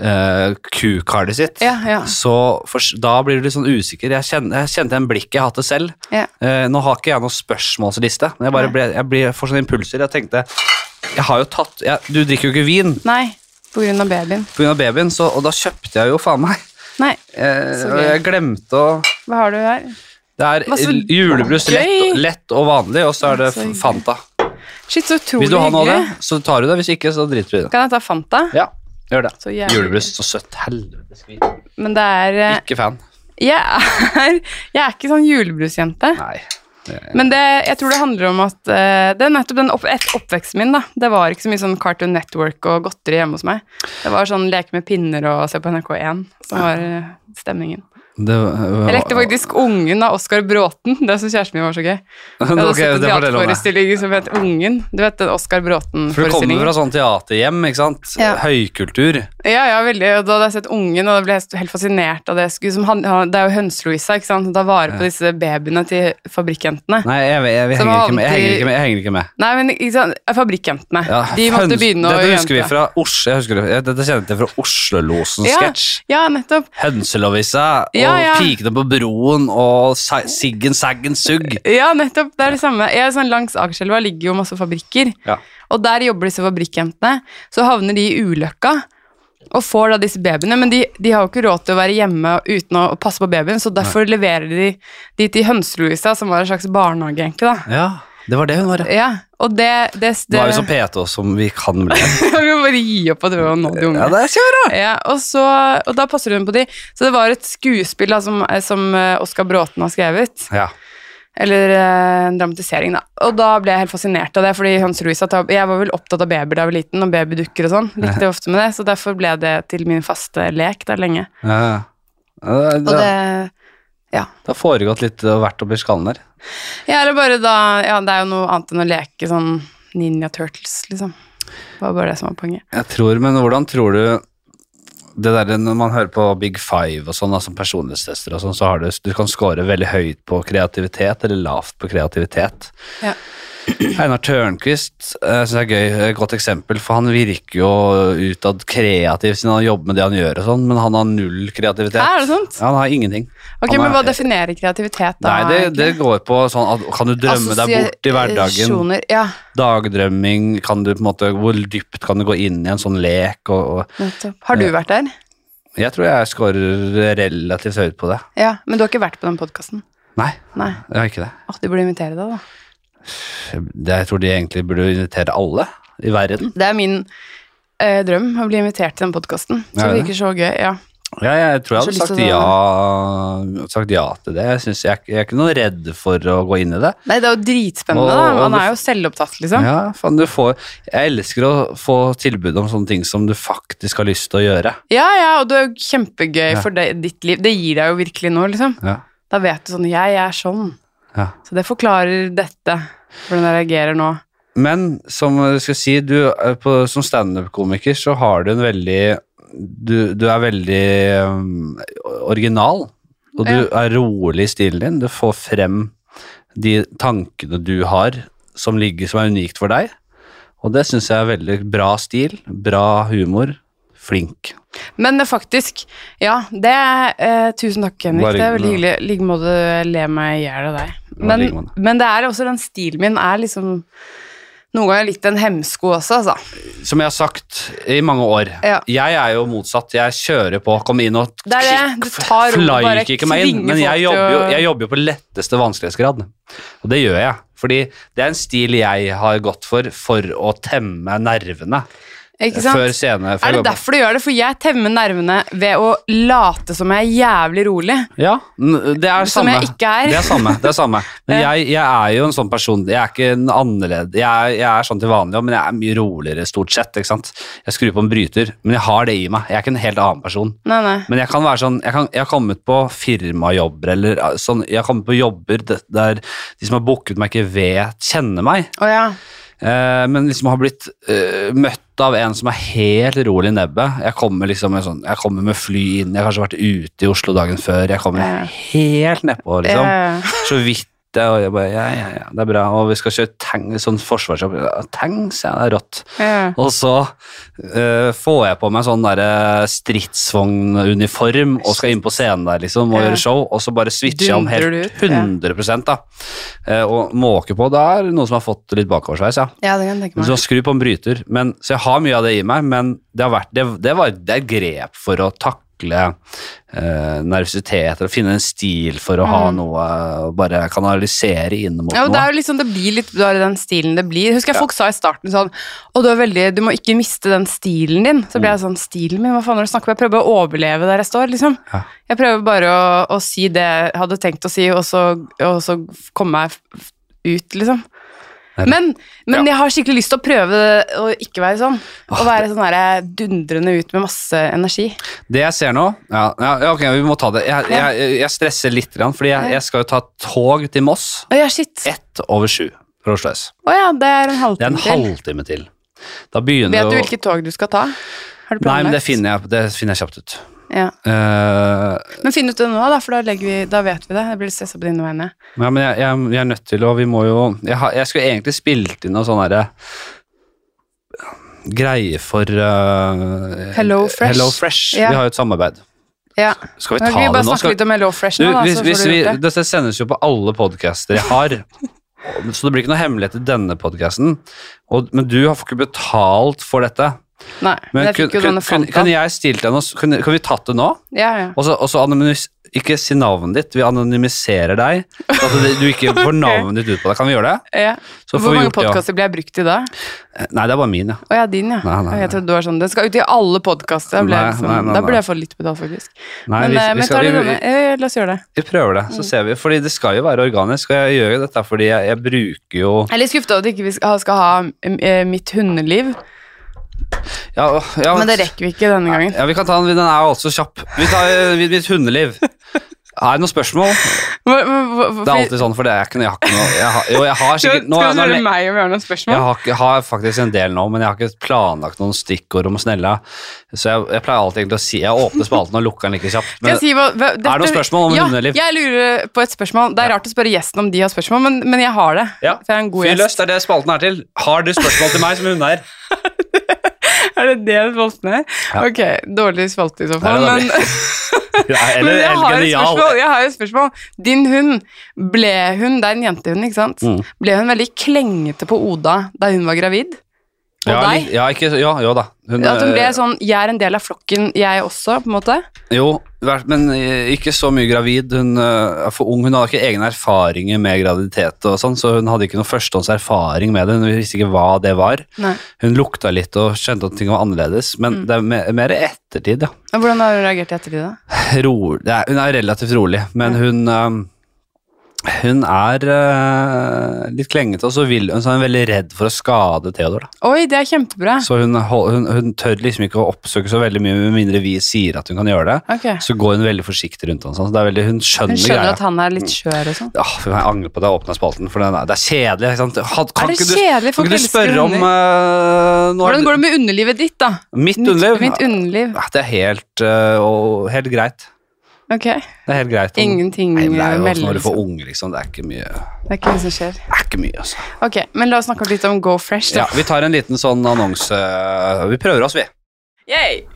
S1: uh, Q-kartet sitt,
S2: Ja, ja.
S1: så fors- da blir du litt sånn usikker. Jeg, kjenner, jeg kjente en blikk jeg hadde selv.
S2: Ja.
S1: Eh, nå har ikke jeg noen spørsmålsliste, men jeg, bare
S2: Nei.
S1: ble, jeg blir, får sånne impulser. Jeg tenkte jeg har jo tatt, jeg, Du drikker jo ikke vin
S2: Nei, på grunn av babyen.
S1: pga. babyen, så, og da kjøpte jeg jo faen meg.
S2: Nei,
S1: Eh,
S2: Så
S1: og
S2: gøy.
S1: jeg glemte å
S2: hva har du her?
S1: det er
S2: Hva så
S1: julebrus
S2: gøy!
S1: lett, lett og vanlig, og så er det
S2: Så hyggelig.
S1: Fanta.
S2: Shit, så utrolig
S1: Hvis du har noe av det,
S2: hyggelig.
S1: så tar du det. Hvis ikke, så driter du i det.
S2: Kan jeg ta Fanta?
S1: Ja, gjør det.
S2: Så jævlig.
S1: Julebrus, så søtt. Helvetes vin.
S2: Men det er, eh,
S1: Ikke fan.
S2: jeg er, jeg er ikke sånn julebrusjente.
S1: Nei.
S2: Men det, jeg tror det handler om at eh, det er nettopp den opp, et, oppveksten min, da. Det var ikke så mye sånn Cartoon Network og godteri hjemme hos meg. Det var sånn leke med pinner og se på NRK1 som var eh, stemningen.
S1: Det,
S2: Jeg lekte faktisk Ungen av Oskar Bråten. Det syns kjæresten min var så gøy. Jeg hadde
S1: Ok,
S2: sett en
S1: det forteller om det.
S2: teaterforestilling som het Ungen. Du vet den Oskar
S1: For du kommer
S2: Bråten-forestillingen?
S1: fra sånn teaterhjem, ikke sant?
S2: Ja.
S1: Høykultur.
S2: Ja, ja, veldig. Og da hadde jeg sett Ungen, og da ble jeg helt fascinert av det. jeg skulle- Som han, han, det er jo Høns-Louisa, ikke sant. som tar vare på disse babyene til fabrikkjentene.
S1: Nei, jeg, jeg, jeg,
S2: Som
S1: henger ikke med. jeg
S2: alltid-
S1: henger ikke med. Jeg henger ikke med.
S2: Nei, men ikke sant, fabrikkjentene.
S1: Ja,
S2: de måtte
S1: høns-
S2: begynne å
S1: Dette husker vi
S2: jente.
S1: fra Oslo, jeg husker det. jeg- Dette kjenner jeg til fra
S2: Ja.
S1: Oslolosen-sketsj.
S2: Ja, nettopp.
S1: Hønselovisa og
S2: Ja, ja.
S1: Pikene på broen og sa- Siggen Saggen Sugg.
S2: Ja, nettopp. Det er det samme. Jeg er sånn Langs Akerselva ligger jo masse fabrikker,
S1: Ja.
S2: og der jobber disse fabrikkjentene. Så havner de i ulykka og får da disse babyene, men de, de har jo ikke råd til å være hjemme uten å passe på babyen, så derfor leverer de de til Hønseluisa, som var en slags barnehage, egentlig, da.
S1: Ja, det var det hun var. ja.
S2: Ja, og det, det, det,
S1: Nå er sånn vi så PT som vi kan bli.
S2: Vi må bare gi opp og prøve å nå de unge.
S1: det skal vi gjøre.
S2: Ja, og, så, og da eh, passer hun på de. Så det var et skuespill da, som, som eh, Oskar Bråten har skrevet.
S1: Ja.
S2: Eller eh, en dramatisering, da. Og da ble jeg helt fascinert av det, fordi Hans Louis at Jeg var vel opptatt av babyer da jeg var liten, og babydukker og sånn. Likte jeg ofte med det, så derfor ble det til min faste lek der lenge.
S1: Ja, ja. Ja, Det,
S2: Og det
S1: det, det har foregått litt og vært oppi skallen der.
S2: Ja, eller bare da Ja, det er jo noe annet enn å leke sånn Ninja Turtles, liksom. Det var bare det som var poenget.
S1: Jeg tror, men hvordan tror du det der når man hører på Big Five og sånn, altså personlighetstester og sånn, så har du, du kan score veldig høyt på kreativitet eller lavt på kreativitet.
S2: Ja.
S1: Einar Tørnquist eh, synes jeg er gøy, et godt eksempel, for han virker jo utad kreativ siden han jobber med det han gjør og sånn, men han har null kreativitet.
S2: Er det sant?
S1: Ja, han har ingenting.
S2: Ok,
S1: Han er-
S2: men hva definerer kreativitet da?
S1: Nei, det, det går på sånn at kan du drømme deg bort i hverdagen?
S2: Assosiasjoner, Ja,
S1: Dagdrømming, kan du på en måte, hvor dypt kan du gå inn i en sånn lek og, og
S2: nettopp. Har du vært der?
S1: Jeg tror jeg scorer relativt høyt på det.
S2: Ja, men du har ikke vært på den podkasten?
S1: Nei,
S2: Nei.
S1: jeg har ikke det.
S2: Åh, de burde invitere deg, da.
S1: Det- Jeg tror de egentlig burde invitere alle i verden.
S2: Det er min eh, drøm, å bli invitert til den podkasten. Så
S1: Er
S2: det
S1: det?
S2: virker så gøy, ja.
S1: Ja, jeg tror jeg
S2: Har så
S1: hadde
S2: lyst
S1: sagt
S2: til å-
S1: ja, sagt ja til det. Jeg, synes jeg, jeg er ikke noe redd for å gå inn i det.
S2: Nei, det er jo dritspennende,
S1: Og-
S2: da.
S1: og
S2: Man
S1: det-
S2: er jo selvopptatt, liksom.
S1: Ja, faen, du får, jeg elsker å få tilbud om sånne ting som du faktisk har lyst til å gjøre.
S2: Ja, ja, og det er jo kjempegøy
S1: Ja.
S2: for deg, ditt liv. Det gir deg jo virkelig noe, liksom.
S1: Ja,
S2: Da vet du sånn Jeg er sånn.
S1: ja.
S2: Så det forklarer dette, hvordan jeg reagerer nå.
S1: Men som jeg skal si, du, eh, på, som standup-komiker så har du en veldig Du, du er veldig um, original, og du er rolig i stilen din. Du får frem de tankene du har som ligger som er unikt for deg. Og det syns jeg er veldig bra stil, bra humor, flink.
S2: Men eh, faktisk, ja, det eh, Tusen takk, Henrik.
S1: Bare
S2: det er veldig
S1: hyggelig,
S2: hyggelig. I like måte le meg i hjel av deg.
S1: Ja,
S2: Men,
S1: like måte.
S2: men det er også den stilen min er liksom noen ganger litt en hemsko også, altså.
S1: Som jeg har sagt i mange år,
S2: Ja.
S1: jeg er jo motsatt. Jeg kjører på, kom inn og
S2: Det er det. Du tar ro, bare
S1: Flyker ikke meg inn,
S2: tvinger
S1: men
S2: folk
S1: jeg
S2: til
S1: jobber, jo,
S2: å-
S1: jeg jobber jo på letteste vanskelighetsgrad. Og det gjør jeg, fordi det er en stil jeg har gått for for å temme nervene.
S2: Ikke sant?
S1: Før scene. Før
S2: er det
S1: jeg jobber.
S2: derfor du gjør det? For jeg temmer nervene ved å late som jeg er jævlig rolig.
S1: Ja, n- det er
S2: Som
S1: samme.
S2: jeg ikke er.
S1: Det er samme. Det er samme. Men jeg, jeg er jo en sånn person. Jeg er ikke en annerledes jeg, er- jeg er sånn til vanlig, også, men jeg er mye roligere stort sett. ikke sant? Jeg skrur på en bryter, men jeg har det i meg. Jeg er ikke en helt annen person.
S2: Nei, nei.
S1: Men jeg kan være sånn, jeg, kan, jeg har kommet på firmajobber, eller uh, sånn, jeg har kommet på jobber det- der de som har booket meg ikke vet, kjenner meg,
S2: Å ja.
S1: eh, men liksom har blitt eh, møtt av en som er helt rolig i nebbet. Jeg kommer liksom med sånn, jeg kommer med fly inn, jeg har kanskje vært ute i Oslo dagen før, jeg kommer
S2: Ja.
S1: helt nedpå, liksom.
S2: Eh,
S1: Så vidt. det, Og jeg bare, ja, ja, ja, det er bra, og vi skal kjøre tang, sånn forsvarsjobb, Ja, tang, sier jeg, det er rått.
S2: eh.
S1: Og så eh, får jeg på meg sånn derre stridsvognuniform og skal inn på scenen der liksom og
S2: Ja.
S1: gjøre show, og så bare switcher jeg om
S2: Dundrer
S1: helt
S2: du ut, ja.
S1: 100 da. Eh, og måke på, da er det noen som har fått litt bakoversveis, ja.
S2: Ja, det kan jeg tenke
S1: Så
S2: meg.
S1: skru på en bryter. Men, så jeg har mye av det i meg, men det, har vært, det, det, var, det er et grep for å takle eh, nervøsitet, eller finne en stil for å ha
S2: Mm.
S1: noe å bare kanalisere inn mot
S2: Ja, og det, er
S1: noe.
S2: jo liksom, det blir litt bare den stilen det blir. Husker jeg folk sa i starten sånn Å, du er veldig Du må ikke miste den stilen din. Så ble jeg
S1: Mm.
S2: sånn Stilen min? Hva faen er det du snakker om? Jeg prøver å overleve der jeg står, liksom.
S1: Ja.
S2: Jeg prøver bare å, å si det jeg hadde tenkt å si, og så, og så komme meg f- f- ut, liksom.
S1: Nei, det-
S2: Men, men
S1: Ja.
S2: jeg har skikkelig lyst til å prøve å ikke være sånn. Å
S1: Åh,
S2: være sånn der dundrende ut med masse energi.
S1: Det jeg ser nå Ja, ja ja, ok, vi må ta det. Jeg, jeg, jeg stresser litt, grann, fordi jeg, jeg skal jo ta tog til Moss
S2: Å ja, shit.
S1: ett over sju fra Oslo S.
S2: Å ja, det er en
S1: Det er en
S2: halvtime til.
S1: halvtime til. Da begynner
S2: Vet du
S1: jo-
S2: hvilket tog du skal ta? Har du
S1: Nei, men det
S2: planlagt?
S1: finner jeg, det finner jeg kjapt ut.
S2: Ja.
S1: Eh,
S2: Men finn ut det nå, da, for da, legger vi, da vet vi det. Jeg blir stressa på dine vegne.
S1: ja, men jeg, jeg, jeg er nødt til å Vi må jo Jeg, har, jeg skulle egentlig spilt inn noe sånn herre Greie for eh,
S2: Hello Fresh.
S1: Hello Fresh.
S2: Ja.
S1: Vi har jo et samarbeid.
S2: Ja.
S1: Skal vi
S2: Kan
S1: ta
S2: ikke vi
S1: det
S2: bare
S1: nå?
S2: snakke
S1: Skal,
S2: litt om Hello Fresh
S1: Du,
S2: nå, da?
S1: hvis,
S2: så
S1: hvis
S2: får du
S1: vi,
S2: gjort det.
S1: dette sendes jo på alle podcaster jeg har, og- så det blir ikke noe hemmelighet i denne podcasten. Og, men du har ikke betalt for dette.
S2: Nei, men
S1: Men
S2: jeg fikk jo
S1: kun-
S2: denne
S1: kun- kun-
S2: fanta.
S1: kunne jeg stilt deg noe, kunne, kunne vi tatt det nå?
S2: Ja, ja.
S1: Og så, og så anonymis, Ikke si navnet ditt, vi anonymiserer deg. så At du ikke får navnet ditt ut på deg. Kan vi gjøre det?
S2: Ja.
S1: Så
S2: Hvor
S1: får vi
S2: mange
S1: gjort det,
S2: podkaster blir jeg brukt i da?
S1: ja. Nei, det er bare min, ja.
S2: Å ja, din, ja.
S1: Nei, nei,
S2: Ok,
S1: nei.
S2: Jeg trodde du var sånn Den skal ut i alle podkaster. Da blir jeg
S1: Nei, nei,
S2: liksom,
S1: nei,
S2: da
S1: nei.
S2: burde jeg få litt betalt, faktisk.
S1: Nei,
S2: Men,
S1: vi,
S2: eh,
S1: vi,
S2: men Mm. ta
S1: skal,
S2: det
S1: vi,
S2: denne. Eh, La oss gjøre det.
S1: vi prøver det, så ser vi. Fordi det skal jo være organisk, og jeg gjør jo dette fordi jeg, jeg bruker jo
S2: Jeg er litt skuffa over at ikke vi skal ha, skal ha eh, mitt hundeliv,
S1: ja, ja,
S2: men det rekker vi ikke denne gangen.
S1: Ja, vi kan ta den. Den er jo også kjapp. Vi tar eh, mitt hundeliv. Er det noen spørsmål?
S2: Hva- hva- hva-
S1: Det er alltid sånn, for det er ikke noe Jeg har ikke noe jeg har, Jo, jeg har
S2: Skal,
S1: sikkert nå,
S2: skal du
S1: nå,
S2: spørre
S1: le-
S2: meg om vi har noen
S1: jeg
S2: spørsmål?
S1: har, ikke- jeg har faktisk en del nå, men jeg har ikke planlagt noen stikkord om snella. Så jeg, jeg pleier alltid egentlig å si Jeg åpner spalten og lukker den like kjapt.
S2: Skal
S1: Men
S2: jeg si hva, hva, dette,
S1: noen spørsmål om
S2: ja,
S1: hundeliv?
S2: Jeg lurer på et spørsmål. Det er rart å spørre gjesten om de har spørsmål, men, men jeg har det.
S1: Ja,
S2: For jeg er en god
S1: fyr
S2: gjest.
S1: løs, det er det spalten er til. Har du spørsmål til meg som hundeeier?
S2: Er det det spalten er?
S1: Ja.
S2: Ok, dårlig spalte i så
S1: Nei,
S2: fall.
S1: det er
S2: Men,
S1: Ja, Eller
S2: men jeg,
S1: eller
S2: har et
S1: genial.
S2: spørsmål, jeg har jo et spørsmål. Din hund, ble hun Det er en jentehund, ikke sant?
S1: Mm.
S2: Ble hun veldig klengete på Oda da hun var gravid? Og
S1: Ja,
S2: deg?
S1: li- ja, ikke, ja, jo da. Hun,
S2: At hun ble
S1: eh,
S2: sånn 'jeg er en del av flokken, jeg også', på en måte?
S1: Jo, vært- men eh, ikke så mye gravid. Hun eh, er for ung. Hun hadde ikke egne erfaringer med graviditet, og sånn, så hun hadde ikke noe førstehåndserfaring med det. Hun visste ikke hva det var.
S2: Nei.
S1: Hun lukta litt og skjønte at ting var annerledes, men det er me- mer i ettertid, ja.
S2: Men Hvordan har hun reagert i ettertid, da?
S1: Ro, det er, hun er relativt rolig, men hun eh, hun er eh, litt klengete, og så, vil, hun, så er hun veldig redd for å skade Theodor. Da.
S2: Oi, det er kjempebra.
S1: Så hun, hol- hun, hun tør liksom ikke å oppsøke så veldig mye, med mindre vi sier at hun kan gjøre det.
S2: Ok.
S1: så går hun veldig forsiktig rundt han. Sånn. Så det er veldig, hun skjønner,
S2: Hun skjønner
S1: greia.
S2: at han er litt skjør og sånn.
S1: Åh, for jeg angrer på at jeg åpna spalten, for den er, det er kjedelig. Ikke sant? Had,
S2: Er
S1: kan
S2: det
S1: ikke du,
S2: kjedelig?
S1: kan
S2: Folk
S1: ikke du
S2: elsker
S1: spørre om
S2: hunder.
S1: eh, nå har
S2: Hvordan
S1: du-
S2: går det med underlivet ditt, da?
S1: Mitt underliv?
S2: Mitt underliv.
S1: Nei, Det er helt, eh, og, helt greit.
S2: Ok.
S1: Det er helt greit. om-
S2: Ingenting
S1: Nei, men det er jo
S2: å
S1: også
S2: melde.
S1: når du får
S2: liksom.
S1: unge, liksom. Det er ikke mye, det
S2: Det er ikke mye som skjer.
S1: er ikke mye altså.
S2: Ok, men la oss snakke litt om Go Fresh,
S1: Ja,
S2: da.
S1: vi tar en liten sånn annonse Vi prøver oss, vi.
S2: Yay!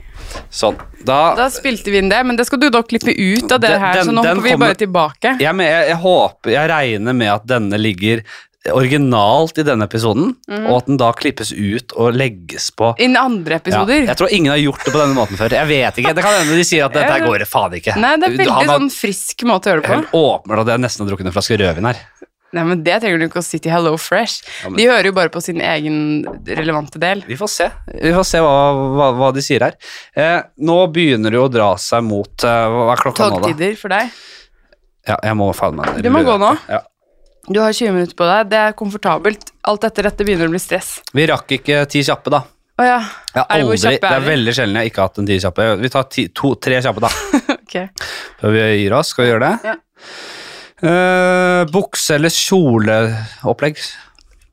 S1: Sånn. Da,
S2: Da spilte vi inn det, men det skal du da klippe ut av det
S1: Den-
S2: her, så
S1: den-
S2: nå
S1: den
S2: hopper vi
S1: kommer-
S2: bare tilbake.
S1: jeg, men jeg, jeg håper, jeg regner med at denne ligger originalt i denne episoden,
S2: Mhm.
S1: og at den da klippes ut og legges på
S2: Innen andre
S1: Ja,
S2: episoder.
S1: jeg tror ingen har gjort det på denne måten før. Jeg vet ikke, Det kan hende de sier at dette her går faen ikke.
S2: Nei, det er
S1: Du-
S2: veldig
S1: han har-
S2: sånn frisk måte å gjøre det på.
S1: Helt åpenbart at jeg nesten har drukket en flaske rødvin her.
S2: Nei, men det trenger du ikke å si til Hello Fresh.
S1: Ja, men-
S2: De hører jo bare på sin egen relevante del.
S1: Vi får se Vi får se hva, hva, hva de sier her. Eh, nå begynner det jo å dra seg mot eh, Hva er klokka nå, da?
S2: Togtider for deg.
S1: Ja, jeg må faen meg
S2: Du må gå nå.
S1: Ja.
S2: Du har 20 minutter på deg, det er komfortabelt. Alt etter dette begynner å bli stress.
S1: Vi rakk ikke ti kjappe, da.
S2: Å ja.
S1: Jeg har
S2: Er det hvor
S1: aldri, det
S2: kjappe er
S1: er
S2: vi?
S1: veldig sjelden jeg ikke har hatt en ti kjappe. Vi tar ti, to, tre kjappe, da.
S2: Ok.
S1: Før vi gir oss. Skal vi gjøre det?
S2: Ja.
S1: Eh, bukse- eller kjoleopplegg?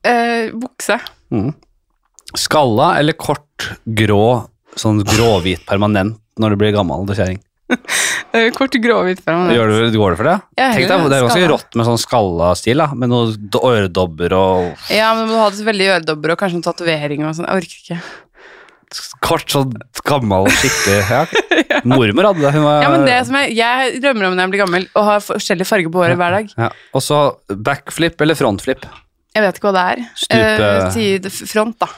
S2: Eh, bukse.
S1: Skalla eller kort, grå, sånn gråhvit permanent når du blir gammel du kjerring?
S2: Eh, kort gråhvitt fra meg.
S1: Gjør du, går det for det?
S2: Mm. Ja,
S1: Tenk deg, det er jo ganske
S2: skalla.
S1: rått med sånn skalla stil, da, med noen d- øredobber og
S2: Ja, men du må ha det så veldig i øredobber og kanskje noen tatoveringer og sånn. Jeg orker ikke.
S1: kort, sånn gammel og skikkelig ja. ok. Mormor hadde det. Hun var
S2: Ja, men det som jeg, jeg drømmer om når jeg blir gammel, å ha forskjellige farger på håret hver dag.
S1: ja. Og så backflip eller frontflip.
S2: Jeg vet ikke hva det er.
S1: Stupe-
S2: Eh, tid, f- front, da.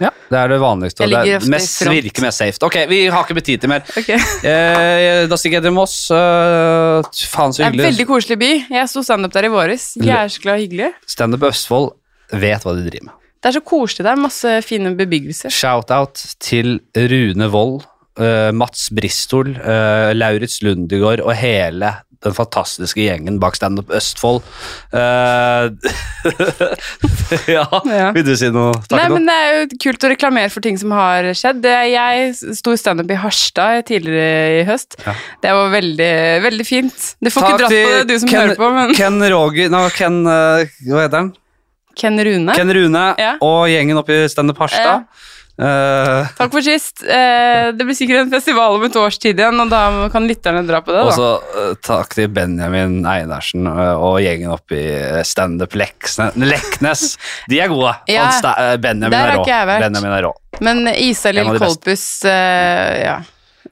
S1: Ja. Det er det vanligste.
S2: Jeg
S1: Og det
S2: ligger
S1: er
S2: ofte i
S1: mest,
S2: front.
S1: virker mest safe. Ok, vi har ikke tid til mer.
S2: Ok. Det
S1: Eh, da stikker jeg til Moss. Eh, faen så
S2: er en
S1: hyggelig.
S2: veldig koselig by. Jeg sto standup der i våres. Jeg er så glad og hyggelig.
S1: Standup Østfold vet hva de driver med.
S2: Det er så koselig der. Masse fine bebyggelser.
S1: Shout-out til Rune Wold, eh, Mats Bristol, uh, Laurits Lundegård og hele den fantastiske gjengen bak Stand Up Østfold. Eh, ja,
S2: Ja.
S1: vil du si noe?
S2: Nei,
S1: Takke noe?
S2: men Det er jo kult å reklamere for ting som har skjedd. Det- Jeg sto i standup i Harstad tidligere i høst.
S1: Ja.
S2: Det var veldig, veldig fint. Du får ikke dratt på det, du som
S1: Ken,
S2: hører på, men
S1: Ken Roger Nei, Ken, eh, hva heter han?
S2: Ken Rune.
S1: Ken Rune
S2: Ja.
S1: og gjengen oppe i Stand Up Harstad. Eh,
S2: Takk for sist. Eh, det blir sikkert en festival om et års tid igjen, og da kan lytterne dra på det.
S1: og
S2: da.
S1: så eh, takk til Benjamin Einarsen eh, og gjengen oppe i Stand Up Leksne- Leknes. De er gode.
S2: Ja.
S1: Han sta- eh, Benjamin
S2: Der har
S1: er rå.
S2: ikke jeg vært.
S1: Benjamin er rå.
S2: Men
S1: En av
S2: Isalill
S1: de beste.
S2: Kolpus eh, ja.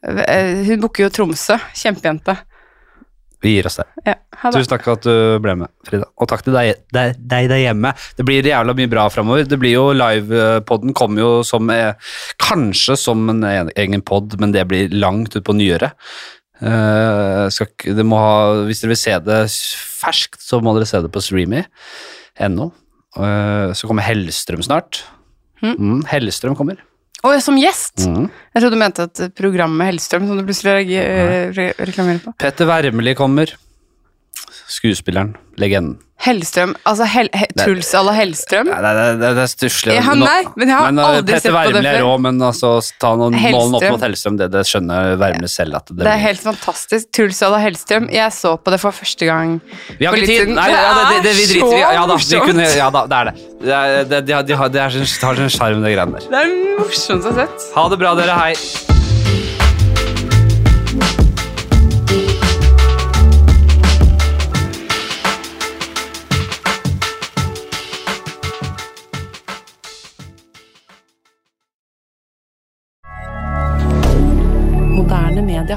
S2: Eh, Hun booker jo Tromsø. Kjempejente.
S1: Vi gir oss der.
S2: Ja. Ha det.
S1: Tusen takk for at du ble med, Frida. Og takk til deg, deg, deg der hjemme. Det blir jævla mye bra framover. Det blir jo Livepoden kommer jo som eh, Kanskje som en egen pod, men det blir langt utpå nyåret. Eh, skal, ikke- det må ha, hvis dere vil se det s- ferskt, så må dere se det på streamy.no. Eh, så kommer Hellstrøm snart.
S2: Mm.
S1: Mm, Hellstrøm kommer.
S2: Å, ja, som gjest?
S1: Mm.
S2: Jeg trodde du mente at programmet Hellstrøm, som du plutselig reag- eh, re reklamerer på.
S1: Petter Wermeli kommer. Skuespilleren. Legenden.
S2: Hellstrøm, altså Hel he Truls à la Hellstrøm?
S1: Nei, det, det, det, det er stusslig.
S2: Ja, han
S1: Nå-
S2: der, men jeg har
S1: Men, eh,
S2: aldri
S1: Petter
S2: sett på det
S1: Wermli er
S2: før.
S1: rå, men altså, ta noen nålen opp
S2: Hellstrøm.
S1: mot Hellstrøm, det, det skjønner Wermli selv at det,
S2: Det er helt fantastisk. Truls à la Hellstrøm. Jeg så på det for første gang.
S1: Vi har
S2: for
S1: ikke
S2: litt
S1: tid!
S2: siden.
S1: Nei, ja, det, det, det, vi
S2: Det er
S1: driter i
S2: så
S1: ja, da, vi
S2: morsomt.
S1: kunne, ja da, det er det. Det, er, det, de har- de har, det er, sin- har sin sjarm, de greiene der.
S2: Det er morsomt å ha sett.
S1: Ha det bra, dere. Hei.
S4: Moderne media.